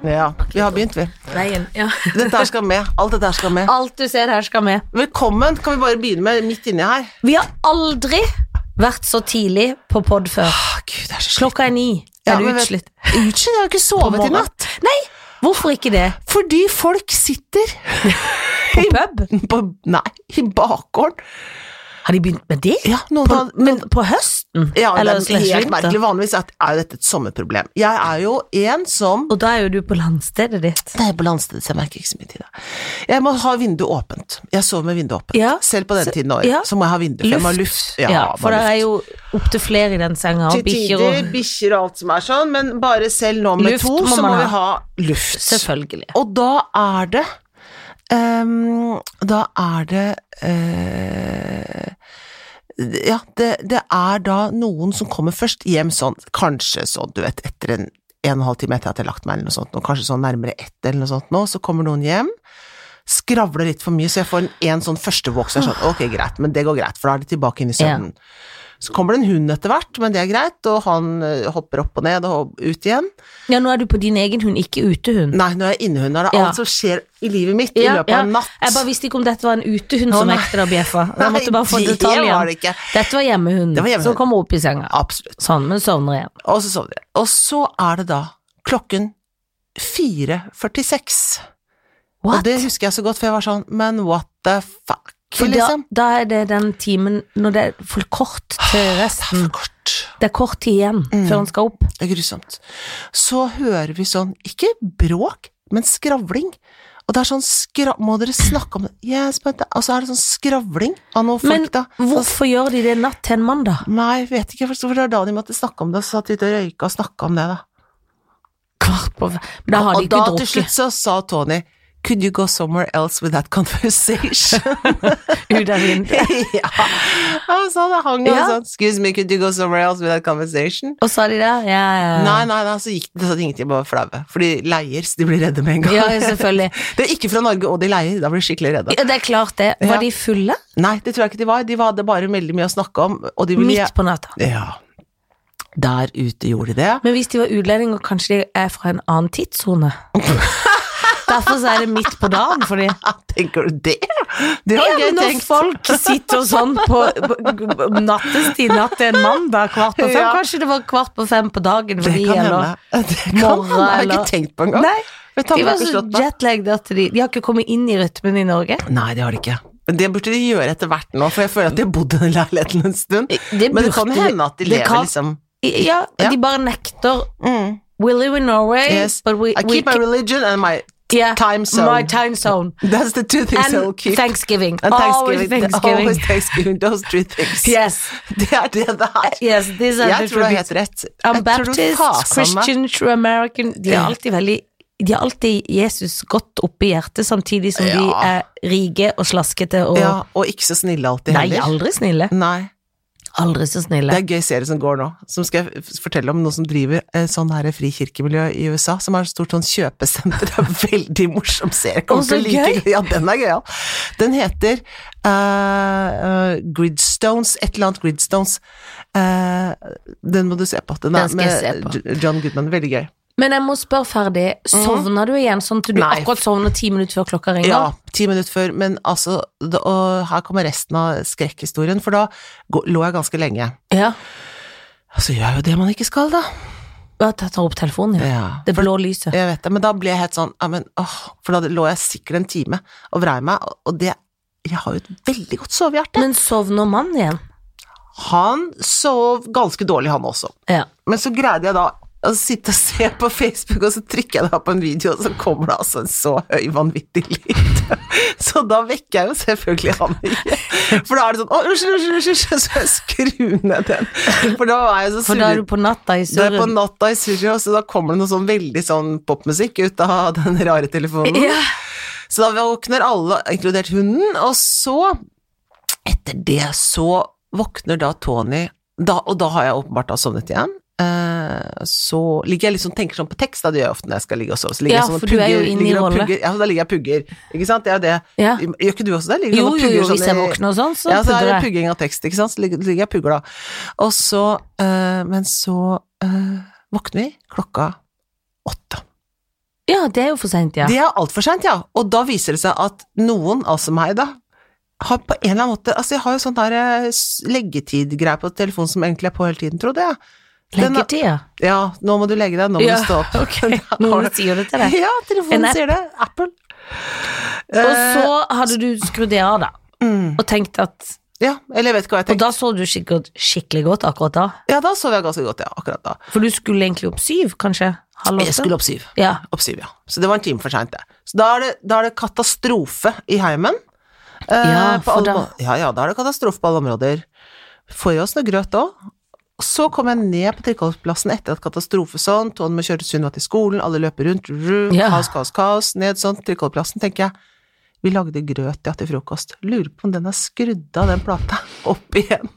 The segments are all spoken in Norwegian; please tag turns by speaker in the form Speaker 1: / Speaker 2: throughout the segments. Speaker 1: Ja, vi har begynt, vi.
Speaker 2: Veien. Ja.
Speaker 1: Dette her skal med. Alt dette her skal med.
Speaker 2: Alt du ser her skal med.
Speaker 1: Velkommen. Kan vi bare begynne med midt inni her?
Speaker 2: Vi har aldri vært så tidlig på pod før.
Speaker 1: Å, Gud, det er så
Speaker 2: Klokka er ni.
Speaker 1: Ja,
Speaker 2: er du
Speaker 1: men vet-
Speaker 2: utslitt?
Speaker 1: Unnskyld, jeg har jo ikke sovet i
Speaker 2: morgenen.
Speaker 1: natt.
Speaker 2: Nei, hvorfor ikke det?
Speaker 1: Fordi folk sitter
Speaker 2: På pub?
Speaker 1: på Nei, i bakgården.
Speaker 2: Har de begynt med det?
Speaker 1: Ja, noen
Speaker 2: På,
Speaker 1: har-
Speaker 2: men på høsten?
Speaker 1: Ja,
Speaker 2: Eller
Speaker 1: det er
Speaker 2: slash
Speaker 1: helt
Speaker 2: vinter?
Speaker 1: merkelig. Vanligvis er er jo dette et sommerproblem. Jeg er jo en som
Speaker 2: Og da er jo du på landstedet ditt.
Speaker 1: Det er på landstedet, så jeg merker ikke så mye til det. Jeg må ha vinduet åpent. Jeg sover med vinduet åpent.
Speaker 2: Ja.
Speaker 1: Selv på den
Speaker 2: Så-
Speaker 1: tiden av året,
Speaker 2: ja.
Speaker 1: så må jeg ha vindu. for jeg må ha luft.
Speaker 2: Ja, for
Speaker 1: må
Speaker 2: det
Speaker 1: ha
Speaker 2: er
Speaker 1: luft.
Speaker 2: jo opptil flere i den senga, og
Speaker 1: Til
Speaker 2: bikkjer
Speaker 1: tider,
Speaker 2: og
Speaker 1: bikkjer og alt som er sånn, men bare selv nå med
Speaker 2: Luft
Speaker 1: to,
Speaker 2: må
Speaker 1: så
Speaker 2: man
Speaker 1: må vi
Speaker 2: ha.
Speaker 1: ha luft.
Speaker 2: Selvfølgelig.
Speaker 1: Og da er det ehm, Da er det eh, Ja, det, det er da noen som kommer først hjem sånn, kanskje sånn, du vet, etter en en og en halv time etter at jeg har lagt meg, eller noe sånt, nå, kanskje sånn nærmere ett eller noe sånt nå, så kommer noen hjem, skravler litt for mye, så jeg får en, en sånn førstevåk, så jeg er sånn, ok, greit, men det går greit, for da er de tilbake inn i
Speaker 2: Ja.
Speaker 1: søvnen. Så kommer det en hund etter hvert, men det er greit, og han eh, hopper opp og ned og ut igjen.
Speaker 2: Ja, nå er du på din egen hund, ikke utehund.
Speaker 1: Nei, når jeg er innehund, er det
Speaker 2: Ja.
Speaker 1: alt som skjer i livet mitt i
Speaker 2: Ja,
Speaker 1: løpet
Speaker 2: ja.
Speaker 1: av en natt.
Speaker 2: Jeg bare visste ikke om dette var en utehund
Speaker 1: Å,
Speaker 2: som
Speaker 1: nei.
Speaker 2: nekter å bjeffe. Jeg måtte bare få
Speaker 1: Nei, det var
Speaker 2: detaljen.
Speaker 1: det ikke.
Speaker 2: Dette var hjemmehunden,
Speaker 1: Det var hjemmehunden.
Speaker 2: som kommer opp i senga.
Speaker 1: Absolutt.
Speaker 2: Sånn, men sovner igjen.
Speaker 1: Og så sovner jeg. Og så er det da klokken 4.46. Og
Speaker 2: What?
Speaker 1: det husker jeg så godt, for jeg var sånn, men what the fuck,
Speaker 2: For da,
Speaker 1: liksom.
Speaker 2: da er det den timen når det er for kort til
Speaker 1: Det er
Speaker 2: resten.
Speaker 1: for kort.
Speaker 2: Det er kort tid igjen
Speaker 1: Mm.
Speaker 2: før han skal opp.
Speaker 1: Det er grusomt. Så hører vi sånn, ikke bråk, men skravling. Og det er sånn skra... Må dere snakke om det? Yes, but the- Og så er det sånn skravling av noen
Speaker 2: Men
Speaker 1: folk, da.
Speaker 2: hvorfor gjør de det natt til en mandag?
Speaker 1: Nei, vet ikke, for det var da de måtte snakke om det, og så satt de ute og røyka og snakka om det, da.
Speaker 2: Kvart på Men Da har de
Speaker 1: og da
Speaker 2: ikke
Speaker 1: til
Speaker 2: drukket.
Speaker 1: slutt så sa Tony Could you go somewhere else with that conversation?
Speaker 2: Ut av vinduet.
Speaker 1: ja. Han sa det hang og
Speaker 2: Ja.
Speaker 1: sånn. Excuse me, could you go somewhere else with that conversation?
Speaker 2: Og sa de det? Ja, ja, ja.
Speaker 1: Nei, nei, nei, så gikk det sånn ingenting, bare flaue. For de leier, så de blir redde med en gang.
Speaker 2: Ja, selvfølgelig.
Speaker 1: Det er ikke fra Norge, og de leier, da blir de skikkelig redde.
Speaker 2: Ja, det er klart det. Var
Speaker 1: Ja.
Speaker 2: de fulle
Speaker 1: Nei, det tror jeg ikke de var, de hadde bare veldig mye å snakke om, og de ville
Speaker 2: midt på natta?
Speaker 1: Ja. Der ute gjorde de det.
Speaker 2: Men hvis de var utlendinger, kanskje de er fra en annen tidssone? Derfor så er det midt på dagen for de.
Speaker 1: Ja, tenker du det? Det
Speaker 2: Ja,
Speaker 1: var gøy
Speaker 2: men når
Speaker 1: tenkt.
Speaker 2: folk sitter sånn på, på nattestid natt til en mandag kvart på fem,
Speaker 1: Ja.
Speaker 2: kanskje det var kvart på fem på dagen for
Speaker 1: Det
Speaker 2: de,
Speaker 1: kan
Speaker 2: eller
Speaker 1: hende. Det kan hende,
Speaker 2: morgen,
Speaker 1: det har jeg
Speaker 2: eller-
Speaker 1: ikke tenkt på engang.
Speaker 2: Nei,
Speaker 1: Vet du, han
Speaker 2: De var
Speaker 1: ble
Speaker 2: så
Speaker 1: slått med.
Speaker 2: jetlagged at de De har ikke kommet inn i rytmen i Norge.
Speaker 1: Nei, det har de ikke. Men det burde de gjøre etter hvert nå, for jeg føler at de har bodd i den leiligheten en stund.
Speaker 2: Det
Speaker 1: Men det kan
Speaker 2: burde
Speaker 1: jo hende at de
Speaker 2: det
Speaker 1: lever
Speaker 2: kan-
Speaker 1: liksom
Speaker 2: Ja,
Speaker 1: Ja.
Speaker 2: de bare nekter.
Speaker 1: mm.
Speaker 2: We live in Norway,
Speaker 1: Yes.
Speaker 2: but we,
Speaker 1: I
Speaker 2: we
Speaker 1: keep my religion and my
Speaker 2: yeah,
Speaker 1: time zone.
Speaker 2: My time zone.
Speaker 1: That's the two things I will
Speaker 2: And
Speaker 1: keep.
Speaker 2: Thanksgiving.
Speaker 1: And
Speaker 2: Always Thanksgiving.
Speaker 1: Always Thanksgiving. Those three things.
Speaker 2: Yes.
Speaker 1: Det er det det er.
Speaker 2: Yes, these are
Speaker 1: Jeg
Speaker 2: the
Speaker 1: tror du har
Speaker 2: tributes.
Speaker 1: helt rett.
Speaker 2: I'm
Speaker 1: Jeg tror du
Speaker 2: Baptist,
Speaker 1: fasen meg-
Speaker 2: Christian, True American De er
Speaker 1: Ja.
Speaker 2: alltid veldig De har alltid Jesus godt oppi hjertet, samtidig som de
Speaker 1: Ja.
Speaker 2: er rike og slaskete og
Speaker 1: Ja, og ikke så snille alltid
Speaker 2: Nei,
Speaker 1: heller.
Speaker 2: aldri snille.
Speaker 1: Nei.
Speaker 2: Aldri så
Speaker 1: Det
Speaker 2: snille.
Speaker 1: er en gøy serie som går nå, som skal jeg f- fortelle om noen som driver eh, sånn her frikirkemiljø i USA, som er et stort sånn kjøpesenter. Det er en veldig morsom serie. Kommer
Speaker 2: Å, så
Speaker 1: til å like-
Speaker 2: gøy!
Speaker 1: Ja, den er gøyal. Den heter eh, eh, Gridstones, et eller annet Gridstones. Eh, den må du se på. Den er
Speaker 2: Den skal jeg
Speaker 1: med
Speaker 2: se
Speaker 1: J- John Goodman. Veldig gøy.
Speaker 2: Men jeg må spørre ferdig, sovna du igjen sånn til du
Speaker 1: Mhm. Nei.
Speaker 2: akkurat sovner ti minutter før klokka ringer?
Speaker 1: Ja, ti minutter før, men altså da, Og her kommer resten av skrekkhistorien, for da gå- lå jeg ganske lenge.
Speaker 2: Ja.
Speaker 1: Så gjør Altså, jeg jo det man ikke skal, da.
Speaker 2: Og at jeg tar opp telefonen, ja.
Speaker 1: Ja.
Speaker 2: Det blå lyset.
Speaker 1: Jeg vet det, men da ble jeg helt sånn ja, men, åh, For da lå jeg sikkert en time og vrei meg, og- og det Jeg har jo et veldig godt sovehjerte.
Speaker 2: Men sovner mannen igjen?
Speaker 1: Han sov ganske dårlig, han også.
Speaker 2: Ja.
Speaker 1: Men så greide jeg da å sitte og se på Facebook, og så trykker jeg da på en video, og så kommer det altså en så høy, vanvittig lyd. Så da vekker jeg jo selvfølgelig han igjen. For da er det sånn Å, unnskyld, unnskyld, unnskyld, så jeg skrur ned den. For da er jeg så
Speaker 2: For da er
Speaker 1: surret
Speaker 2: du sånn- på natta i
Speaker 1: det er på
Speaker 2: surren.
Speaker 1: natta i Syria, så da kommer det noe sånn veldig sånn popmusikk ut av den rare telefonen.
Speaker 2: Ja.
Speaker 1: Så da våkner alle, inkludert hunden, og så, etter det, så våkner da Tony, da, og da har jeg åpenbart da sovnet igjen. Eh, Så ligger jeg liksom tenker sånn på tekst, da det gjør jeg ofte når jeg skal ligge og sove. Så ligger
Speaker 2: Ja,
Speaker 1: jeg sånn og
Speaker 2: for du er jo
Speaker 1: pugger-
Speaker 2: inne i
Speaker 1: ligger og
Speaker 2: rolle.
Speaker 1: Pugger, ja, da ligger jeg og pugger, ikke sant? Det er jo det.
Speaker 2: Ja.
Speaker 1: Gjør ikke du også det? Ligger
Speaker 2: Jo,
Speaker 1: sånn og
Speaker 2: jo,
Speaker 1: pugger
Speaker 2: jo,
Speaker 1: sånn
Speaker 2: hvis jeg
Speaker 1: i-
Speaker 2: våkner og sånn, så
Speaker 1: ja, så er det
Speaker 2: pudrer jeg.
Speaker 1: pugging av tekst, ikke sant? Så ligger ligger jeg og pugger da. Og så, eh, men så eh, våkner vi klokka åtte.
Speaker 2: Ja, ja, det er jo for seint, ja.
Speaker 1: Det er altfor seint, ja. Og da viser det seg at noen, altså meg da, har på en eller annen måte Altså, jeg har jo sånn der eh, s- leggetidgreie på telefonen som egentlig er på hele tiden, trodde jeg. Den-
Speaker 2: Leggetida.
Speaker 1: Ja, nå må du legge deg, nå må
Speaker 2: Ja,
Speaker 1: du stå opp.
Speaker 2: ok.
Speaker 1: Da har
Speaker 2: Noen
Speaker 1: du-
Speaker 2: sier det til deg.
Speaker 1: Ja,
Speaker 2: En
Speaker 1: telefonen
Speaker 2: app.
Speaker 1: sier det. Apple.
Speaker 2: Og
Speaker 1: Eh,
Speaker 2: så hadde du skrudd det av, da.
Speaker 1: Mm.
Speaker 2: Og tenkt at
Speaker 1: Ja, eller jeg vet ikke hva jeg tenkte.
Speaker 2: Og da så du sikkert skikkelig godt akkurat da.
Speaker 1: Ja, da sov jeg ganske godt, ja, akkurat da.
Speaker 2: For du skulle egentlig opp syv, kanskje? Halv
Speaker 1: Jeg skulle
Speaker 2: åtte?
Speaker 1: opp syv.
Speaker 2: Ja.
Speaker 1: Opp syv, ja. Så det var en time for seint, det. Så da er det, da er det katastrofe i heimen. Eh,
Speaker 2: Ja,
Speaker 1: på
Speaker 2: for
Speaker 1: alle
Speaker 2: da-
Speaker 1: må- ja, ja, da er det katastrofe på alle områder. Får i oss noe grøt òg. Så kom jeg ned på trikkeholdsplassen etter at katastrofe sånn, Tone må kjøre Sunniva til skolen, alle løper rundt, ru,
Speaker 2: Ja.
Speaker 1: kaos, kaos, kaos, ned sånn, trikkeholdsplassen, tenker jeg. Vi lagde grøt ja, til frokost. Lurer på om den er skrudd av, den plata, opp igjen.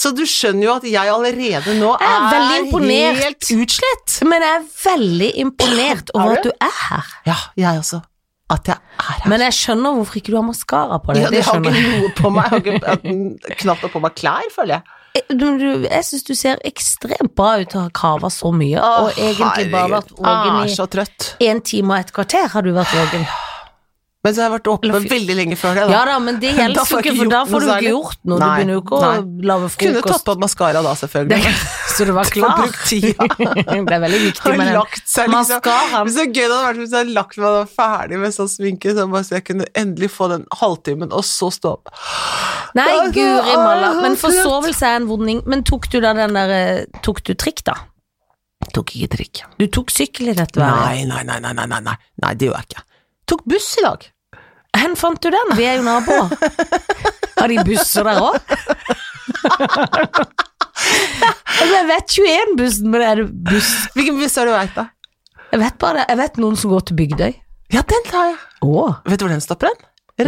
Speaker 1: Så du skjønner jo at jeg allerede nå
Speaker 2: Jeg er veldig imponert.
Speaker 1: helt utslett.
Speaker 2: Men jeg er veldig imponert
Speaker 1: Er
Speaker 2: over at
Speaker 1: du?
Speaker 2: du er her.
Speaker 1: Ja, jeg også. At jeg er her.
Speaker 2: Men jeg skjønner hvorfor ikke du har maskara på deg.
Speaker 1: ja,
Speaker 2: det
Speaker 1: jeg har
Speaker 2: skjønner jeg.
Speaker 1: ikke noe på meg. Jeg har ikke, knapt på meg klær, føler jeg.
Speaker 2: Jeg- du- Eh, du- Jeg syns du ser ekstremt bra ut og har kava så mye,
Speaker 1: Å,
Speaker 2: og egentlig bare vært
Speaker 1: herregud. Ah,
Speaker 2: våken
Speaker 1: så trøtt.
Speaker 2: i en time og et kvarter. har du vært våken.
Speaker 1: Men så har jeg vært oppe
Speaker 2: Eller fy-
Speaker 1: veldig lenge før det, da.
Speaker 2: Ja da, men det
Speaker 1: Da får
Speaker 2: gjelder jo
Speaker 1: jeg
Speaker 2: ikke,
Speaker 1: ikke
Speaker 2: for da
Speaker 1: gjort
Speaker 2: får du
Speaker 1: noe
Speaker 2: ikke
Speaker 1: særlig.
Speaker 2: gjort noe. Du
Speaker 1: Nei,
Speaker 2: begynner jo ikke å lage
Speaker 1: Kunne tatt
Speaker 2: frokost.
Speaker 1: på maskara da, selvfølgelig.
Speaker 2: Så du var
Speaker 1: Få
Speaker 2: klar.
Speaker 1: brukt tida.
Speaker 2: Det er veldig viktig
Speaker 1: Har
Speaker 2: med den
Speaker 1: lagt seg, liksom.
Speaker 2: maskaraen.
Speaker 1: Men så gøy det hadde vært hvis jeg hadde lagt meg og var ferdig med sånn sminke, så, bare, så jeg kunne endelig få den halvtimen, og så stå opp.
Speaker 2: Nei,
Speaker 1: Det er så-
Speaker 2: guri
Speaker 1: Å,
Speaker 2: malla.
Speaker 1: jeg er
Speaker 2: Men
Speaker 1: så trøtt.
Speaker 2: forsovelse er en vonding. Men tok du da den der eh, Tok du trikk, da?
Speaker 1: Tok ikke trikk.
Speaker 2: Du tok sykkel i dette
Speaker 1: Nei,
Speaker 2: været.
Speaker 1: nei, nei, nei, nei, nei, nei, nei, det gjorde jeg ikke. Tok buss i dag.
Speaker 2: Hvor fant du den? Vi er jo naboer. Har de busser der òg? Altså, Jeg vet 21-bussen, men er det buss
Speaker 1: Hvilken buss har du veit, da?
Speaker 2: Jeg vet bare det. Jeg vet noen som går til Bygdøy.
Speaker 1: Ja, den tar jeg.
Speaker 2: Å.
Speaker 1: Vet du hvor den stopper hen?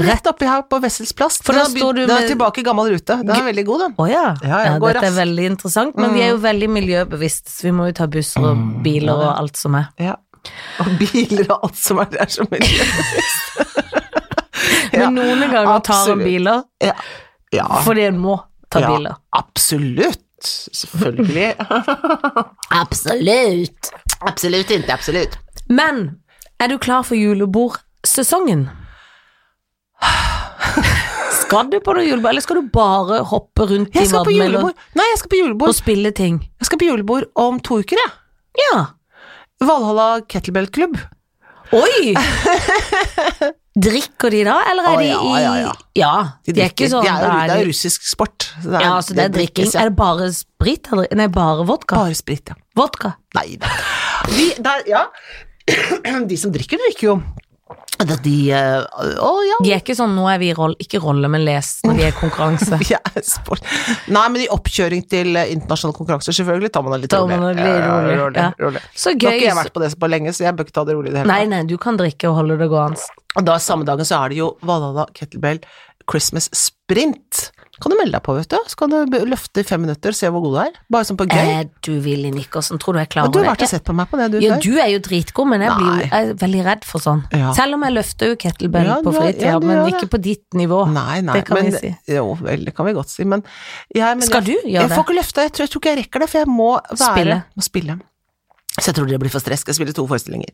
Speaker 1: Rett oppi her på Wessels plass.
Speaker 2: For
Speaker 1: Den
Speaker 2: da
Speaker 1: har
Speaker 2: står
Speaker 1: begynt-
Speaker 2: du
Speaker 1: Den
Speaker 2: med-
Speaker 1: er tilbake i gammel rute. Den er veldig god, den.
Speaker 2: Å ja.
Speaker 1: Ja, ja, går
Speaker 2: dette er
Speaker 1: raskt. Mm.
Speaker 2: veldig interessant, men vi er jo veldig miljøbevisste, så vi må jo ta busser og biler og alt som er.
Speaker 1: Ja. Og biler og alt som er der som er Ja,
Speaker 2: Men noen ganger tar en
Speaker 1: absolutt.
Speaker 2: biler
Speaker 1: Ja. ja.
Speaker 2: fordi en må ta
Speaker 1: ja,
Speaker 2: biler.
Speaker 1: Absolutt. Selvfølgelig.
Speaker 2: Absolutt.
Speaker 1: absolutt ikke absolutt.
Speaker 2: Men er du klar for julebordsesongen? Skal du på noe julebord, eller skal du bare hoppe rundt
Speaker 1: Jeg skal
Speaker 2: i
Speaker 1: på
Speaker 2: vadmel og,
Speaker 1: julebord. Nei, jeg skal på
Speaker 2: og
Speaker 1: julebord.
Speaker 2: spille ting?
Speaker 1: Jeg skal på julebord om to uker, jeg.
Speaker 2: Ja.
Speaker 1: Valhalla kettlebellklubb.
Speaker 2: Oi! Drikker de da, eller er
Speaker 1: Å,
Speaker 2: de i
Speaker 1: ja, ja, ja.
Speaker 2: de, er ikke sånn
Speaker 1: det, er,
Speaker 2: da
Speaker 1: jo-
Speaker 2: er
Speaker 1: det er
Speaker 2: de-
Speaker 1: russisk sport. så det er-
Speaker 2: Ja, så det er drikking.
Speaker 1: drikkes, ja.
Speaker 2: Er det bare sprit? eller- Nei, bare vodka?
Speaker 1: Bare sprit, ja.
Speaker 2: Vodka.
Speaker 1: Nei da. De, der, ja. de som drikker, drikker jo. Da De eh, Å ja.
Speaker 2: De er ikke sånn 'nå er vi i rolle', ikke rolle, men les når de er i konkurranse.
Speaker 1: Ja, sport. Nei, men i oppkjøring til eh, internasjonale konkurranser, selvfølgelig, tar man det litt
Speaker 2: Tar
Speaker 1: rolig.
Speaker 2: man det litt
Speaker 1: Ja,
Speaker 2: rolig,
Speaker 1: rolig,
Speaker 2: ja.
Speaker 1: rolig.
Speaker 2: Så
Speaker 1: Nå har
Speaker 2: gøy.
Speaker 1: ikke jeg vært på det på lenge, så jeg bør ikke ta det rolig i det hele
Speaker 2: Nei, nei, du kan drikke og holde det gående.
Speaker 1: tatt. Og da samme dagen så er det jo Valhalla Kettlebell Christmas Sprint. Kan du melde deg på, vet du? Så kan du b- løfte i fem minutter, se hvor god du er. Bare sånn på gøy.
Speaker 2: Er du Willy Nicholson? Tror du jeg klarer
Speaker 1: Og du har vært og
Speaker 2: Eh, det?
Speaker 1: sett på meg på det, du
Speaker 2: Ja,
Speaker 1: før.
Speaker 2: du er jo dritgod, men jeg, blir, jo- jeg er veldig redd for sånn.
Speaker 1: Ja.
Speaker 2: Selv om jeg løfter jo kettlebell
Speaker 1: Ja,
Speaker 2: på
Speaker 1: du er- ja,
Speaker 2: fritida,
Speaker 1: du
Speaker 2: men
Speaker 1: gjør det.
Speaker 2: ikke på ditt nivå.
Speaker 1: Nei, nei,
Speaker 2: Det kan
Speaker 1: men,
Speaker 2: vi si.
Speaker 1: Jo, vel, det kan vi godt si, men, jeg, men
Speaker 2: Skal
Speaker 1: jeg-
Speaker 2: du gjøre
Speaker 1: Jeg får
Speaker 2: det?
Speaker 1: ikke løfta, jeg tror, jeg tror ikke jeg rekker det, for jeg må være
Speaker 2: Spille.
Speaker 1: Må spille. Så jeg tror det blir for stress, skal jeg spille to forestillinger.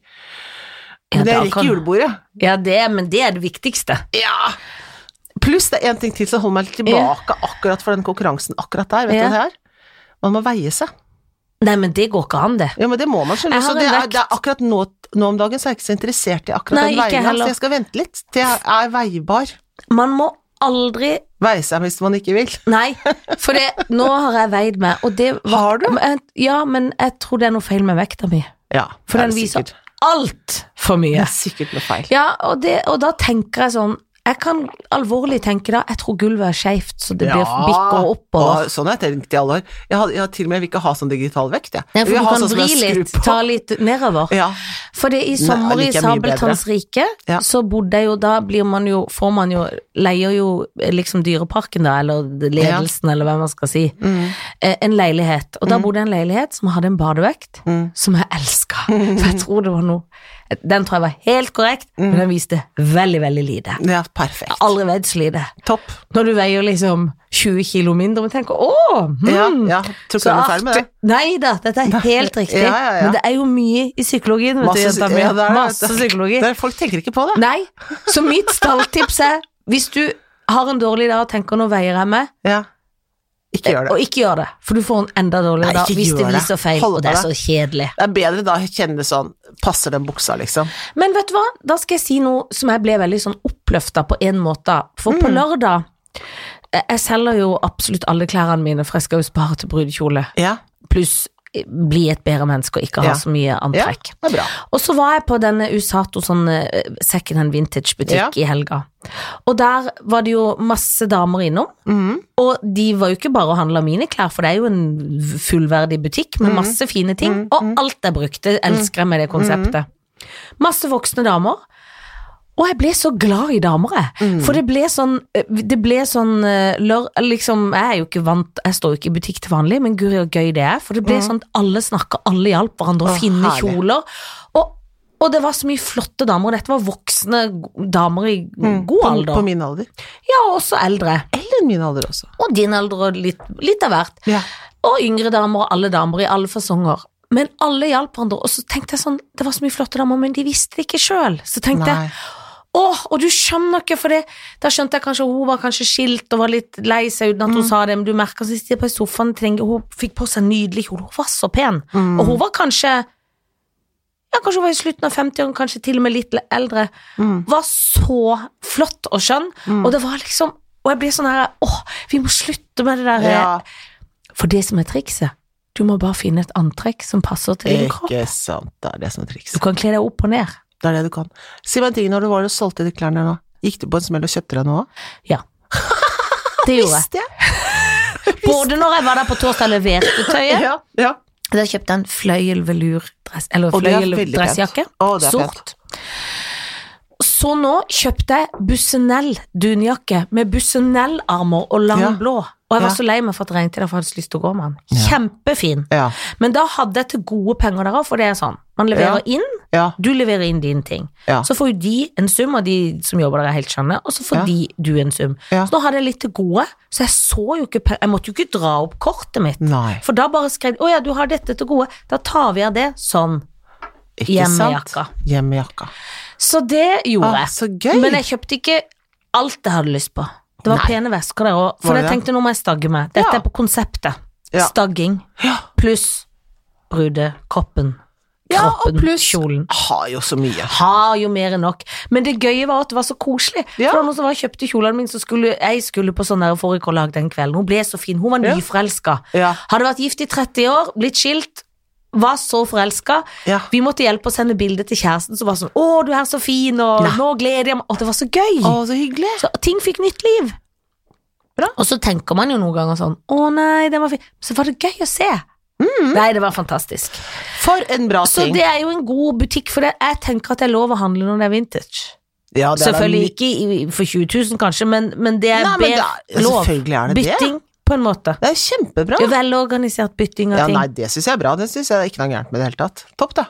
Speaker 2: Ja,
Speaker 1: Men jeg
Speaker 2: da
Speaker 1: rekker
Speaker 2: kan-
Speaker 1: julebordet.
Speaker 2: Ja, det, men det er det viktigste.
Speaker 1: Ja! Pluss det er en ting til som holder meg litt tilbake akkurat for den konkurransen akkurat der, vet du
Speaker 2: Ja.
Speaker 1: hva det er? Man må veie seg.
Speaker 2: Nei, men det går ikke an, det.
Speaker 1: Ja, men det må man skjønne.
Speaker 2: Jeg har
Speaker 1: Så
Speaker 2: en
Speaker 1: det er,
Speaker 2: vekt.
Speaker 1: det er akkurat nå, nå om dagen så er jeg ikke så interessert i akkurat
Speaker 2: Nei,
Speaker 1: den
Speaker 2: ikke
Speaker 1: veien,
Speaker 2: heller.
Speaker 1: så jeg skal vente litt til jeg er veibar.
Speaker 2: Man må aldri
Speaker 1: Veie seg hvis man ikke vil.
Speaker 2: Nei, for det, nå har jeg veid meg, og det var
Speaker 1: Har du?
Speaker 2: Men- Ja, men jeg tror det er noe feil med vekta mi.
Speaker 1: Ja,
Speaker 2: For
Speaker 1: det er
Speaker 2: den
Speaker 1: det
Speaker 2: viser
Speaker 1: sikkert.
Speaker 2: alt for
Speaker 1: Det
Speaker 2: mye.
Speaker 1: er sikkert noe feil.
Speaker 2: Ja, og, det, og da tenker jeg sånn Jeg kan alvorlig tenke da, jeg tror gulvet er skeivt, så det blir bikker
Speaker 1: og
Speaker 2: oppover.
Speaker 1: Sånn har jeg tenkt i alle år. Jeg, har, jeg har til og med vil ikke ha sånn digital vekt, jeg.
Speaker 2: Nei,
Speaker 1: Jeg
Speaker 2: for
Speaker 1: vil
Speaker 2: du
Speaker 1: ha
Speaker 2: kan
Speaker 1: sånn som
Speaker 2: vri
Speaker 1: jeg skrur
Speaker 2: litt,
Speaker 1: på.
Speaker 2: ta litt nedover.
Speaker 1: Ja,
Speaker 2: For det i
Speaker 1: Nei,
Speaker 2: sommer
Speaker 1: det
Speaker 2: i
Speaker 1: liker jeg mye bedre.
Speaker 2: Sabeltanns rike,
Speaker 1: Ja.
Speaker 2: så bodde jeg jo da blir man jo, får man jo, leier jo eh, liksom Dyreparken da, eller ledelsen, eller hva man skal si,
Speaker 1: Mm.
Speaker 2: eh, en
Speaker 1: Mm.
Speaker 2: leilighet. Og da bodde jeg i en leilighet som hadde en badevekt, som jeg elska. For jeg tror det var noe Den tror jeg var helt korrekt,
Speaker 1: Mm.
Speaker 2: men den viste veldig, veldig lite.
Speaker 1: Ja,
Speaker 2: Jeg
Speaker 1: perfekt.
Speaker 2: har aldri veid så lite.
Speaker 1: Topp.
Speaker 2: Når du veier liksom 20 kilo mindre, men tenker å, hmm,
Speaker 1: Ja, ja. Tror ikke
Speaker 2: så
Speaker 1: den er ferdig med det.
Speaker 2: artig. Nei da, dette er helt
Speaker 1: Ja,
Speaker 2: riktig.
Speaker 1: ja, ja.
Speaker 2: Men det er jo mye i psykologien, vet
Speaker 1: Masse,
Speaker 2: du, jenta mi.
Speaker 1: ja, det er det.
Speaker 2: Masse psykologi.
Speaker 1: Det er- folk tenker ikke på det.
Speaker 2: Nei, så mitt stalltips er hvis du har en dårlig dag og tenker nå veier jeg meg,
Speaker 1: Ja. Ikke gjør det.
Speaker 2: Eh, og ikke gjør det, for du får en enda
Speaker 1: Nei,
Speaker 2: dårligere dag
Speaker 1: ikke
Speaker 2: hvis det
Speaker 1: gjør det.
Speaker 2: viser feil,
Speaker 1: Hold
Speaker 2: og det er
Speaker 1: på
Speaker 2: så kjedelig.
Speaker 1: Det er bedre da å kjenne sånn Passer den buksa, liksom?
Speaker 2: Men vet du hva, da skal jeg si noe som jeg ble veldig sånn oppløfta på en måte. For på
Speaker 1: Mm.
Speaker 2: lørdag eh, Jeg selger jo absolutt alle klærne mine, for jeg skal jo spare til brudekjole.
Speaker 1: Ja.
Speaker 2: Pluss eh, bli et bedre menneske og ikke ha
Speaker 1: Ja.
Speaker 2: så
Speaker 1: ja.
Speaker 2: mye antrekk.
Speaker 1: Det er bra.
Speaker 2: Og så var jeg på denne Usato sånn eh, second hand vintage butikk
Speaker 1: Ja.
Speaker 2: i helga. Og der var det jo masse damer innom.
Speaker 1: Mhm.
Speaker 2: Og de var jo ikke bare og handla mine klær, for det er jo en fullverdig butikk
Speaker 1: Mhm.
Speaker 2: med masse fine ting. Og alt jeg brukte, elsker jeg med det
Speaker 1: Mhm.
Speaker 2: konseptet. Masse voksne damer. Og jeg ble så glad i damer, jeg.
Speaker 1: Mhm.
Speaker 2: For det ble sånn, eh, det ble sånn eh, lør, liksom, Jeg er jo ikke vant Jeg står jo ikke i butikk til vanlig, men guri og gøy det er. For det ble sånn at alle snakka, alle hjalp hverandre å
Speaker 1: Mhm. Å,
Speaker 2: finne
Speaker 1: herlig.
Speaker 2: kjoler. Og, og det var så mye flotte damer, og dette var voksne damer i god
Speaker 1: Mm. På,
Speaker 2: alder.
Speaker 1: på min alder.
Speaker 2: Ja, også eldre.
Speaker 1: Eller min alder også.
Speaker 2: Og din alder og litt, litt av hvert.
Speaker 1: Ja.
Speaker 2: Og yngre damer og alle damer i alle fasonger. Men alle hjalp hverandre, og så tenkte jeg sånn Det var så mye flotte damer, men de visste det ikke sjøl. Så tenkte jeg
Speaker 1: Nei.
Speaker 2: Åh, og du skjønner ikke, for det Da skjønte jeg kanskje hun var kanskje skilt og var litt lei seg uten at
Speaker 1: Mm.
Speaker 2: hun sa det, men du merker at hun sitter på sofaen trenger, Hun fikk på seg en nydelig kjole, hun var så pen.
Speaker 1: Mm.
Speaker 2: Og hun var kanskje Ja, kanskje hun var i slutten av 50-årene, kanskje til og med litt eldre.
Speaker 1: Mm.
Speaker 2: Var så flott og skjønn, og det var liksom Og jeg ble sånn her Åh, vi må slutte med det der
Speaker 1: Ja,
Speaker 2: For det som er trikset, du må bare finne et antrekk som passer til din kropp.
Speaker 1: ikke sant. Det er det som er
Speaker 2: Du
Speaker 1: trikset.
Speaker 2: kan kle deg opp og ned.
Speaker 1: Det er det du kan. Si meg en ting, når du var og solgte de klærne nå, gikk du på en smell og kjøpte deg noe?
Speaker 2: Det gjorde jeg.
Speaker 1: Visste jeg!
Speaker 2: Både når jeg var der på torsdag og leverte tøyet,
Speaker 1: Ja, ja.
Speaker 2: Da kjøpte jeg en fløyelvelurdress Eller
Speaker 1: Og det er veldig
Speaker 2: fløyeldressjakke.
Speaker 1: pent. Å, det er
Speaker 2: Sort. Så nå kjøpte jeg Bussenell dunjakke med Bussenell-armer og lang
Speaker 1: Ja.
Speaker 2: blå. Og jeg var
Speaker 1: Ja.
Speaker 2: så lei meg for at det regnet i dag, for jeg hadde så lyst til å gå med den.
Speaker 1: Ja.
Speaker 2: Kjempefin.
Speaker 1: Ja,
Speaker 2: Men da hadde jeg til gode penger der òg, for det er sånn. Man leverer inn,
Speaker 1: ja,
Speaker 2: du leverer inn din ting.
Speaker 1: ja.
Speaker 2: Så får jo de en sum, og de som jobber der er helt skjønne, og så får
Speaker 1: Ja.
Speaker 2: de du en sum.
Speaker 1: Ja.
Speaker 2: Så nå hadde jeg litt til gode, så jeg så jo ikke pe- Jeg måtte jo ikke dra opp kortet mitt.
Speaker 1: Nei,
Speaker 2: For da bare skrev de 'Å ja, du har dette til gode', da tar vi av det sånn.
Speaker 1: ikke
Speaker 2: Hjemmejakka.
Speaker 1: sant. Hjemmejakka.
Speaker 2: Så det gjorde
Speaker 1: Ah,
Speaker 2: jeg.
Speaker 1: så gøy!
Speaker 2: Men jeg kjøpte ikke alt jeg hadde lyst på. Det var
Speaker 1: Nei.
Speaker 2: pene vesker der òg,
Speaker 1: Var
Speaker 2: for
Speaker 1: det
Speaker 2: jeg
Speaker 1: det?
Speaker 2: tenkte nå må jeg stagge meg. Dette
Speaker 1: Ja.
Speaker 2: er på konseptet.
Speaker 1: Ja.
Speaker 2: Stagging
Speaker 1: Ja,
Speaker 2: pluss brudekroppen.
Speaker 1: Ja, og
Speaker 2: Kroppen,
Speaker 1: pluss-
Speaker 2: kjolen.
Speaker 1: har jo så mye.
Speaker 2: Har jo mer enn nok. Men det gøye var at det var så koselig.
Speaker 1: Ja.
Speaker 2: For det var noen som var og kjøpte kjolene mine, så skulle jeg skulle på sånn der fårikålag den kvelden. Hun ble så fin. Hun var
Speaker 1: Ja.
Speaker 2: nyforelska.
Speaker 1: Ja,
Speaker 2: Hadde vært gift i 30 år, blitt skilt, var så forelska.
Speaker 1: ja.
Speaker 2: Vi måtte hjelpe å sende bilde til kjæresten som var sånn 'Å, du er så fin', og
Speaker 1: Nei.
Speaker 2: 'Nå gleder jeg meg'. Og det var så gøy.
Speaker 1: Å, så hyggelig.
Speaker 2: Så ting fikk nytt liv. Og så tenker man jo noen ganger sånn 'Å nei, den var fin'. Så var det gøy å se. Nei, det var fantastisk.
Speaker 1: For en bra
Speaker 2: Mm. Så
Speaker 1: ting.
Speaker 2: det er jo en god butikk, for det, jeg tenker at det er lov å handle når det er vintage.
Speaker 1: ja, det er da
Speaker 2: Selvfølgelig
Speaker 1: mye-
Speaker 2: ikke i- for 20 000, kanskje, men, men det er
Speaker 1: Nei, men
Speaker 2: bedre
Speaker 1: det er,
Speaker 2: lov.
Speaker 1: selvfølgelig er det det.
Speaker 2: Bytting, på en måte.
Speaker 1: Det er kjempebra.
Speaker 2: Det er Velorganisert bytting av
Speaker 1: Ja,
Speaker 2: ting.
Speaker 1: nei, det syns jeg er bra. Det syns jeg er ikke noe gærent med i det hele tatt. Topp, da.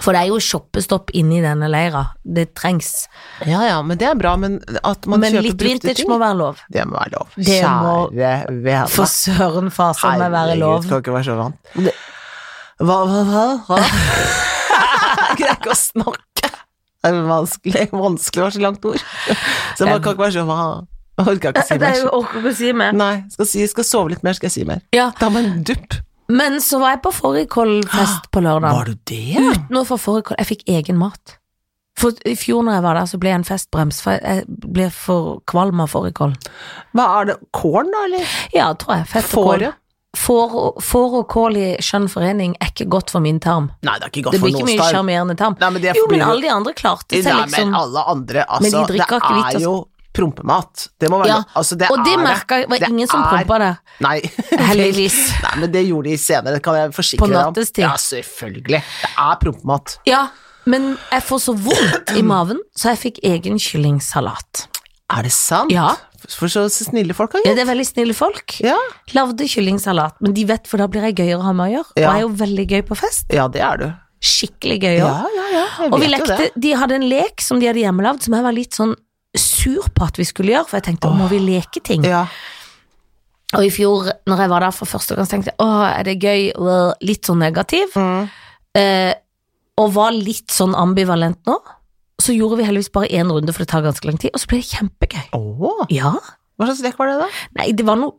Speaker 2: For det er jo shoppestopp inni denne leira. Det trengs.
Speaker 1: Ja ja, men det er bra. Men at man
Speaker 2: Men
Speaker 1: kjøper
Speaker 2: litt
Speaker 1: brukte
Speaker 2: vintage
Speaker 1: ting,
Speaker 2: må være lov.
Speaker 1: det må være lov.
Speaker 2: Det må-
Speaker 1: Kjære vene.
Speaker 2: For søren fasen meg være lov.
Speaker 1: skal ikke være så vant.
Speaker 2: Det-
Speaker 1: Hva, hva, hva? hva? Jeg greier ikke å snakke. Det er vanskelig, vanskelig var så langt ord. Så man kan ikke være så hva? Jeg orker ikke å si
Speaker 2: Det er
Speaker 1: mer.
Speaker 2: jo orker ikke å si mer.
Speaker 1: Nei, skal, si, skal sove litt mer, skal jeg si mer.
Speaker 2: Ja.
Speaker 1: Ta meg en dupp.
Speaker 2: Men så var jeg på fårikålfest på lørdag.
Speaker 1: Var du det?
Speaker 2: Nå for fårikål Jeg fikk egen mat. For I fjor når jeg var der, så ble jeg en festbrems, for jeg ble for kvalm av fårikål.
Speaker 1: Hva er det? Korn, da, eller?
Speaker 2: Ja, tror jeg. Fett og kål.
Speaker 1: Fåret?
Speaker 2: Får og- får og kål i skjønn forening er ikke godt for min tarm.
Speaker 1: Nei, det er ikke
Speaker 2: Det
Speaker 1: godt
Speaker 2: blir
Speaker 1: for
Speaker 2: ikke
Speaker 1: noen
Speaker 2: mye
Speaker 1: star.
Speaker 2: sjarmerende tarm.
Speaker 1: Nei, men det
Speaker 2: Jo, men
Speaker 1: blir jo-
Speaker 2: alle de andre klarte seg,
Speaker 1: Nei, men
Speaker 2: liksom.
Speaker 1: alle andre,
Speaker 2: Men
Speaker 1: altså.
Speaker 2: de drikker
Speaker 1: det
Speaker 2: akevitt,
Speaker 1: er jo prompemat. Det må være
Speaker 2: Ja,
Speaker 1: lov. Altså, det
Speaker 2: Og det
Speaker 1: er
Speaker 2: merka jeg, var
Speaker 1: Det
Speaker 2: ingen som
Speaker 1: er-
Speaker 2: prompa der.
Speaker 1: Nei.
Speaker 2: Heldigvis.
Speaker 1: Nei, men det gjorde de senere, det kan jeg forsikre
Speaker 2: På
Speaker 1: deg om.
Speaker 2: nattestid.
Speaker 1: Ja, selvfølgelig. Det er prompemat.
Speaker 2: Ja, men jeg får så vondt i maven, så jeg fikk egen kyllingsalat.
Speaker 1: Er det sant?
Speaker 2: Ja.
Speaker 1: For så snille folk har
Speaker 2: Ja,
Speaker 1: gjort.
Speaker 2: det er veldig snille folk.
Speaker 1: Ja.
Speaker 2: Lagde kyllingsalat, men de vet, for da blir jeg gøyere å ha med å gjøre. Og
Speaker 1: Ja.
Speaker 2: jeg er jo veldig gøy på fest.
Speaker 1: ja, det er du.
Speaker 2: Skikkelig gøy
Speaker 1: Ja,
Speaker 2: òg.
Speaker 1: ja, ja. jeg
Speaker 2: Og vi
Speaker 1: vet jo
Speaker 2: lekte,
Speaker 1: det.
Speaker 2: de hadde en lek som de hadde hjemmelagd, som jeg var litt sånn sur på at vi skulle gjøre, for jeg tenkte, må vi leke ting?
Speaker 1: Ja.
Speaker 2: Og i fjor, når jeg var der for første gang, så tenkte jeg, åh, er det gøy? Well, Litt sånn negativ.
Speaker 1: Mm.
Speaker 2: Eh, og var litt sånn ambivalent nå. Så gjorde vi heldigvis bare én runde, for det tar ganske lang tid, og så ble det kjempegøy.
Speaker 1: Åh,
Speaker 2: Ja.
Speaker 1: hva slags lek var det, da?
Speaker 2: Nei, det var noe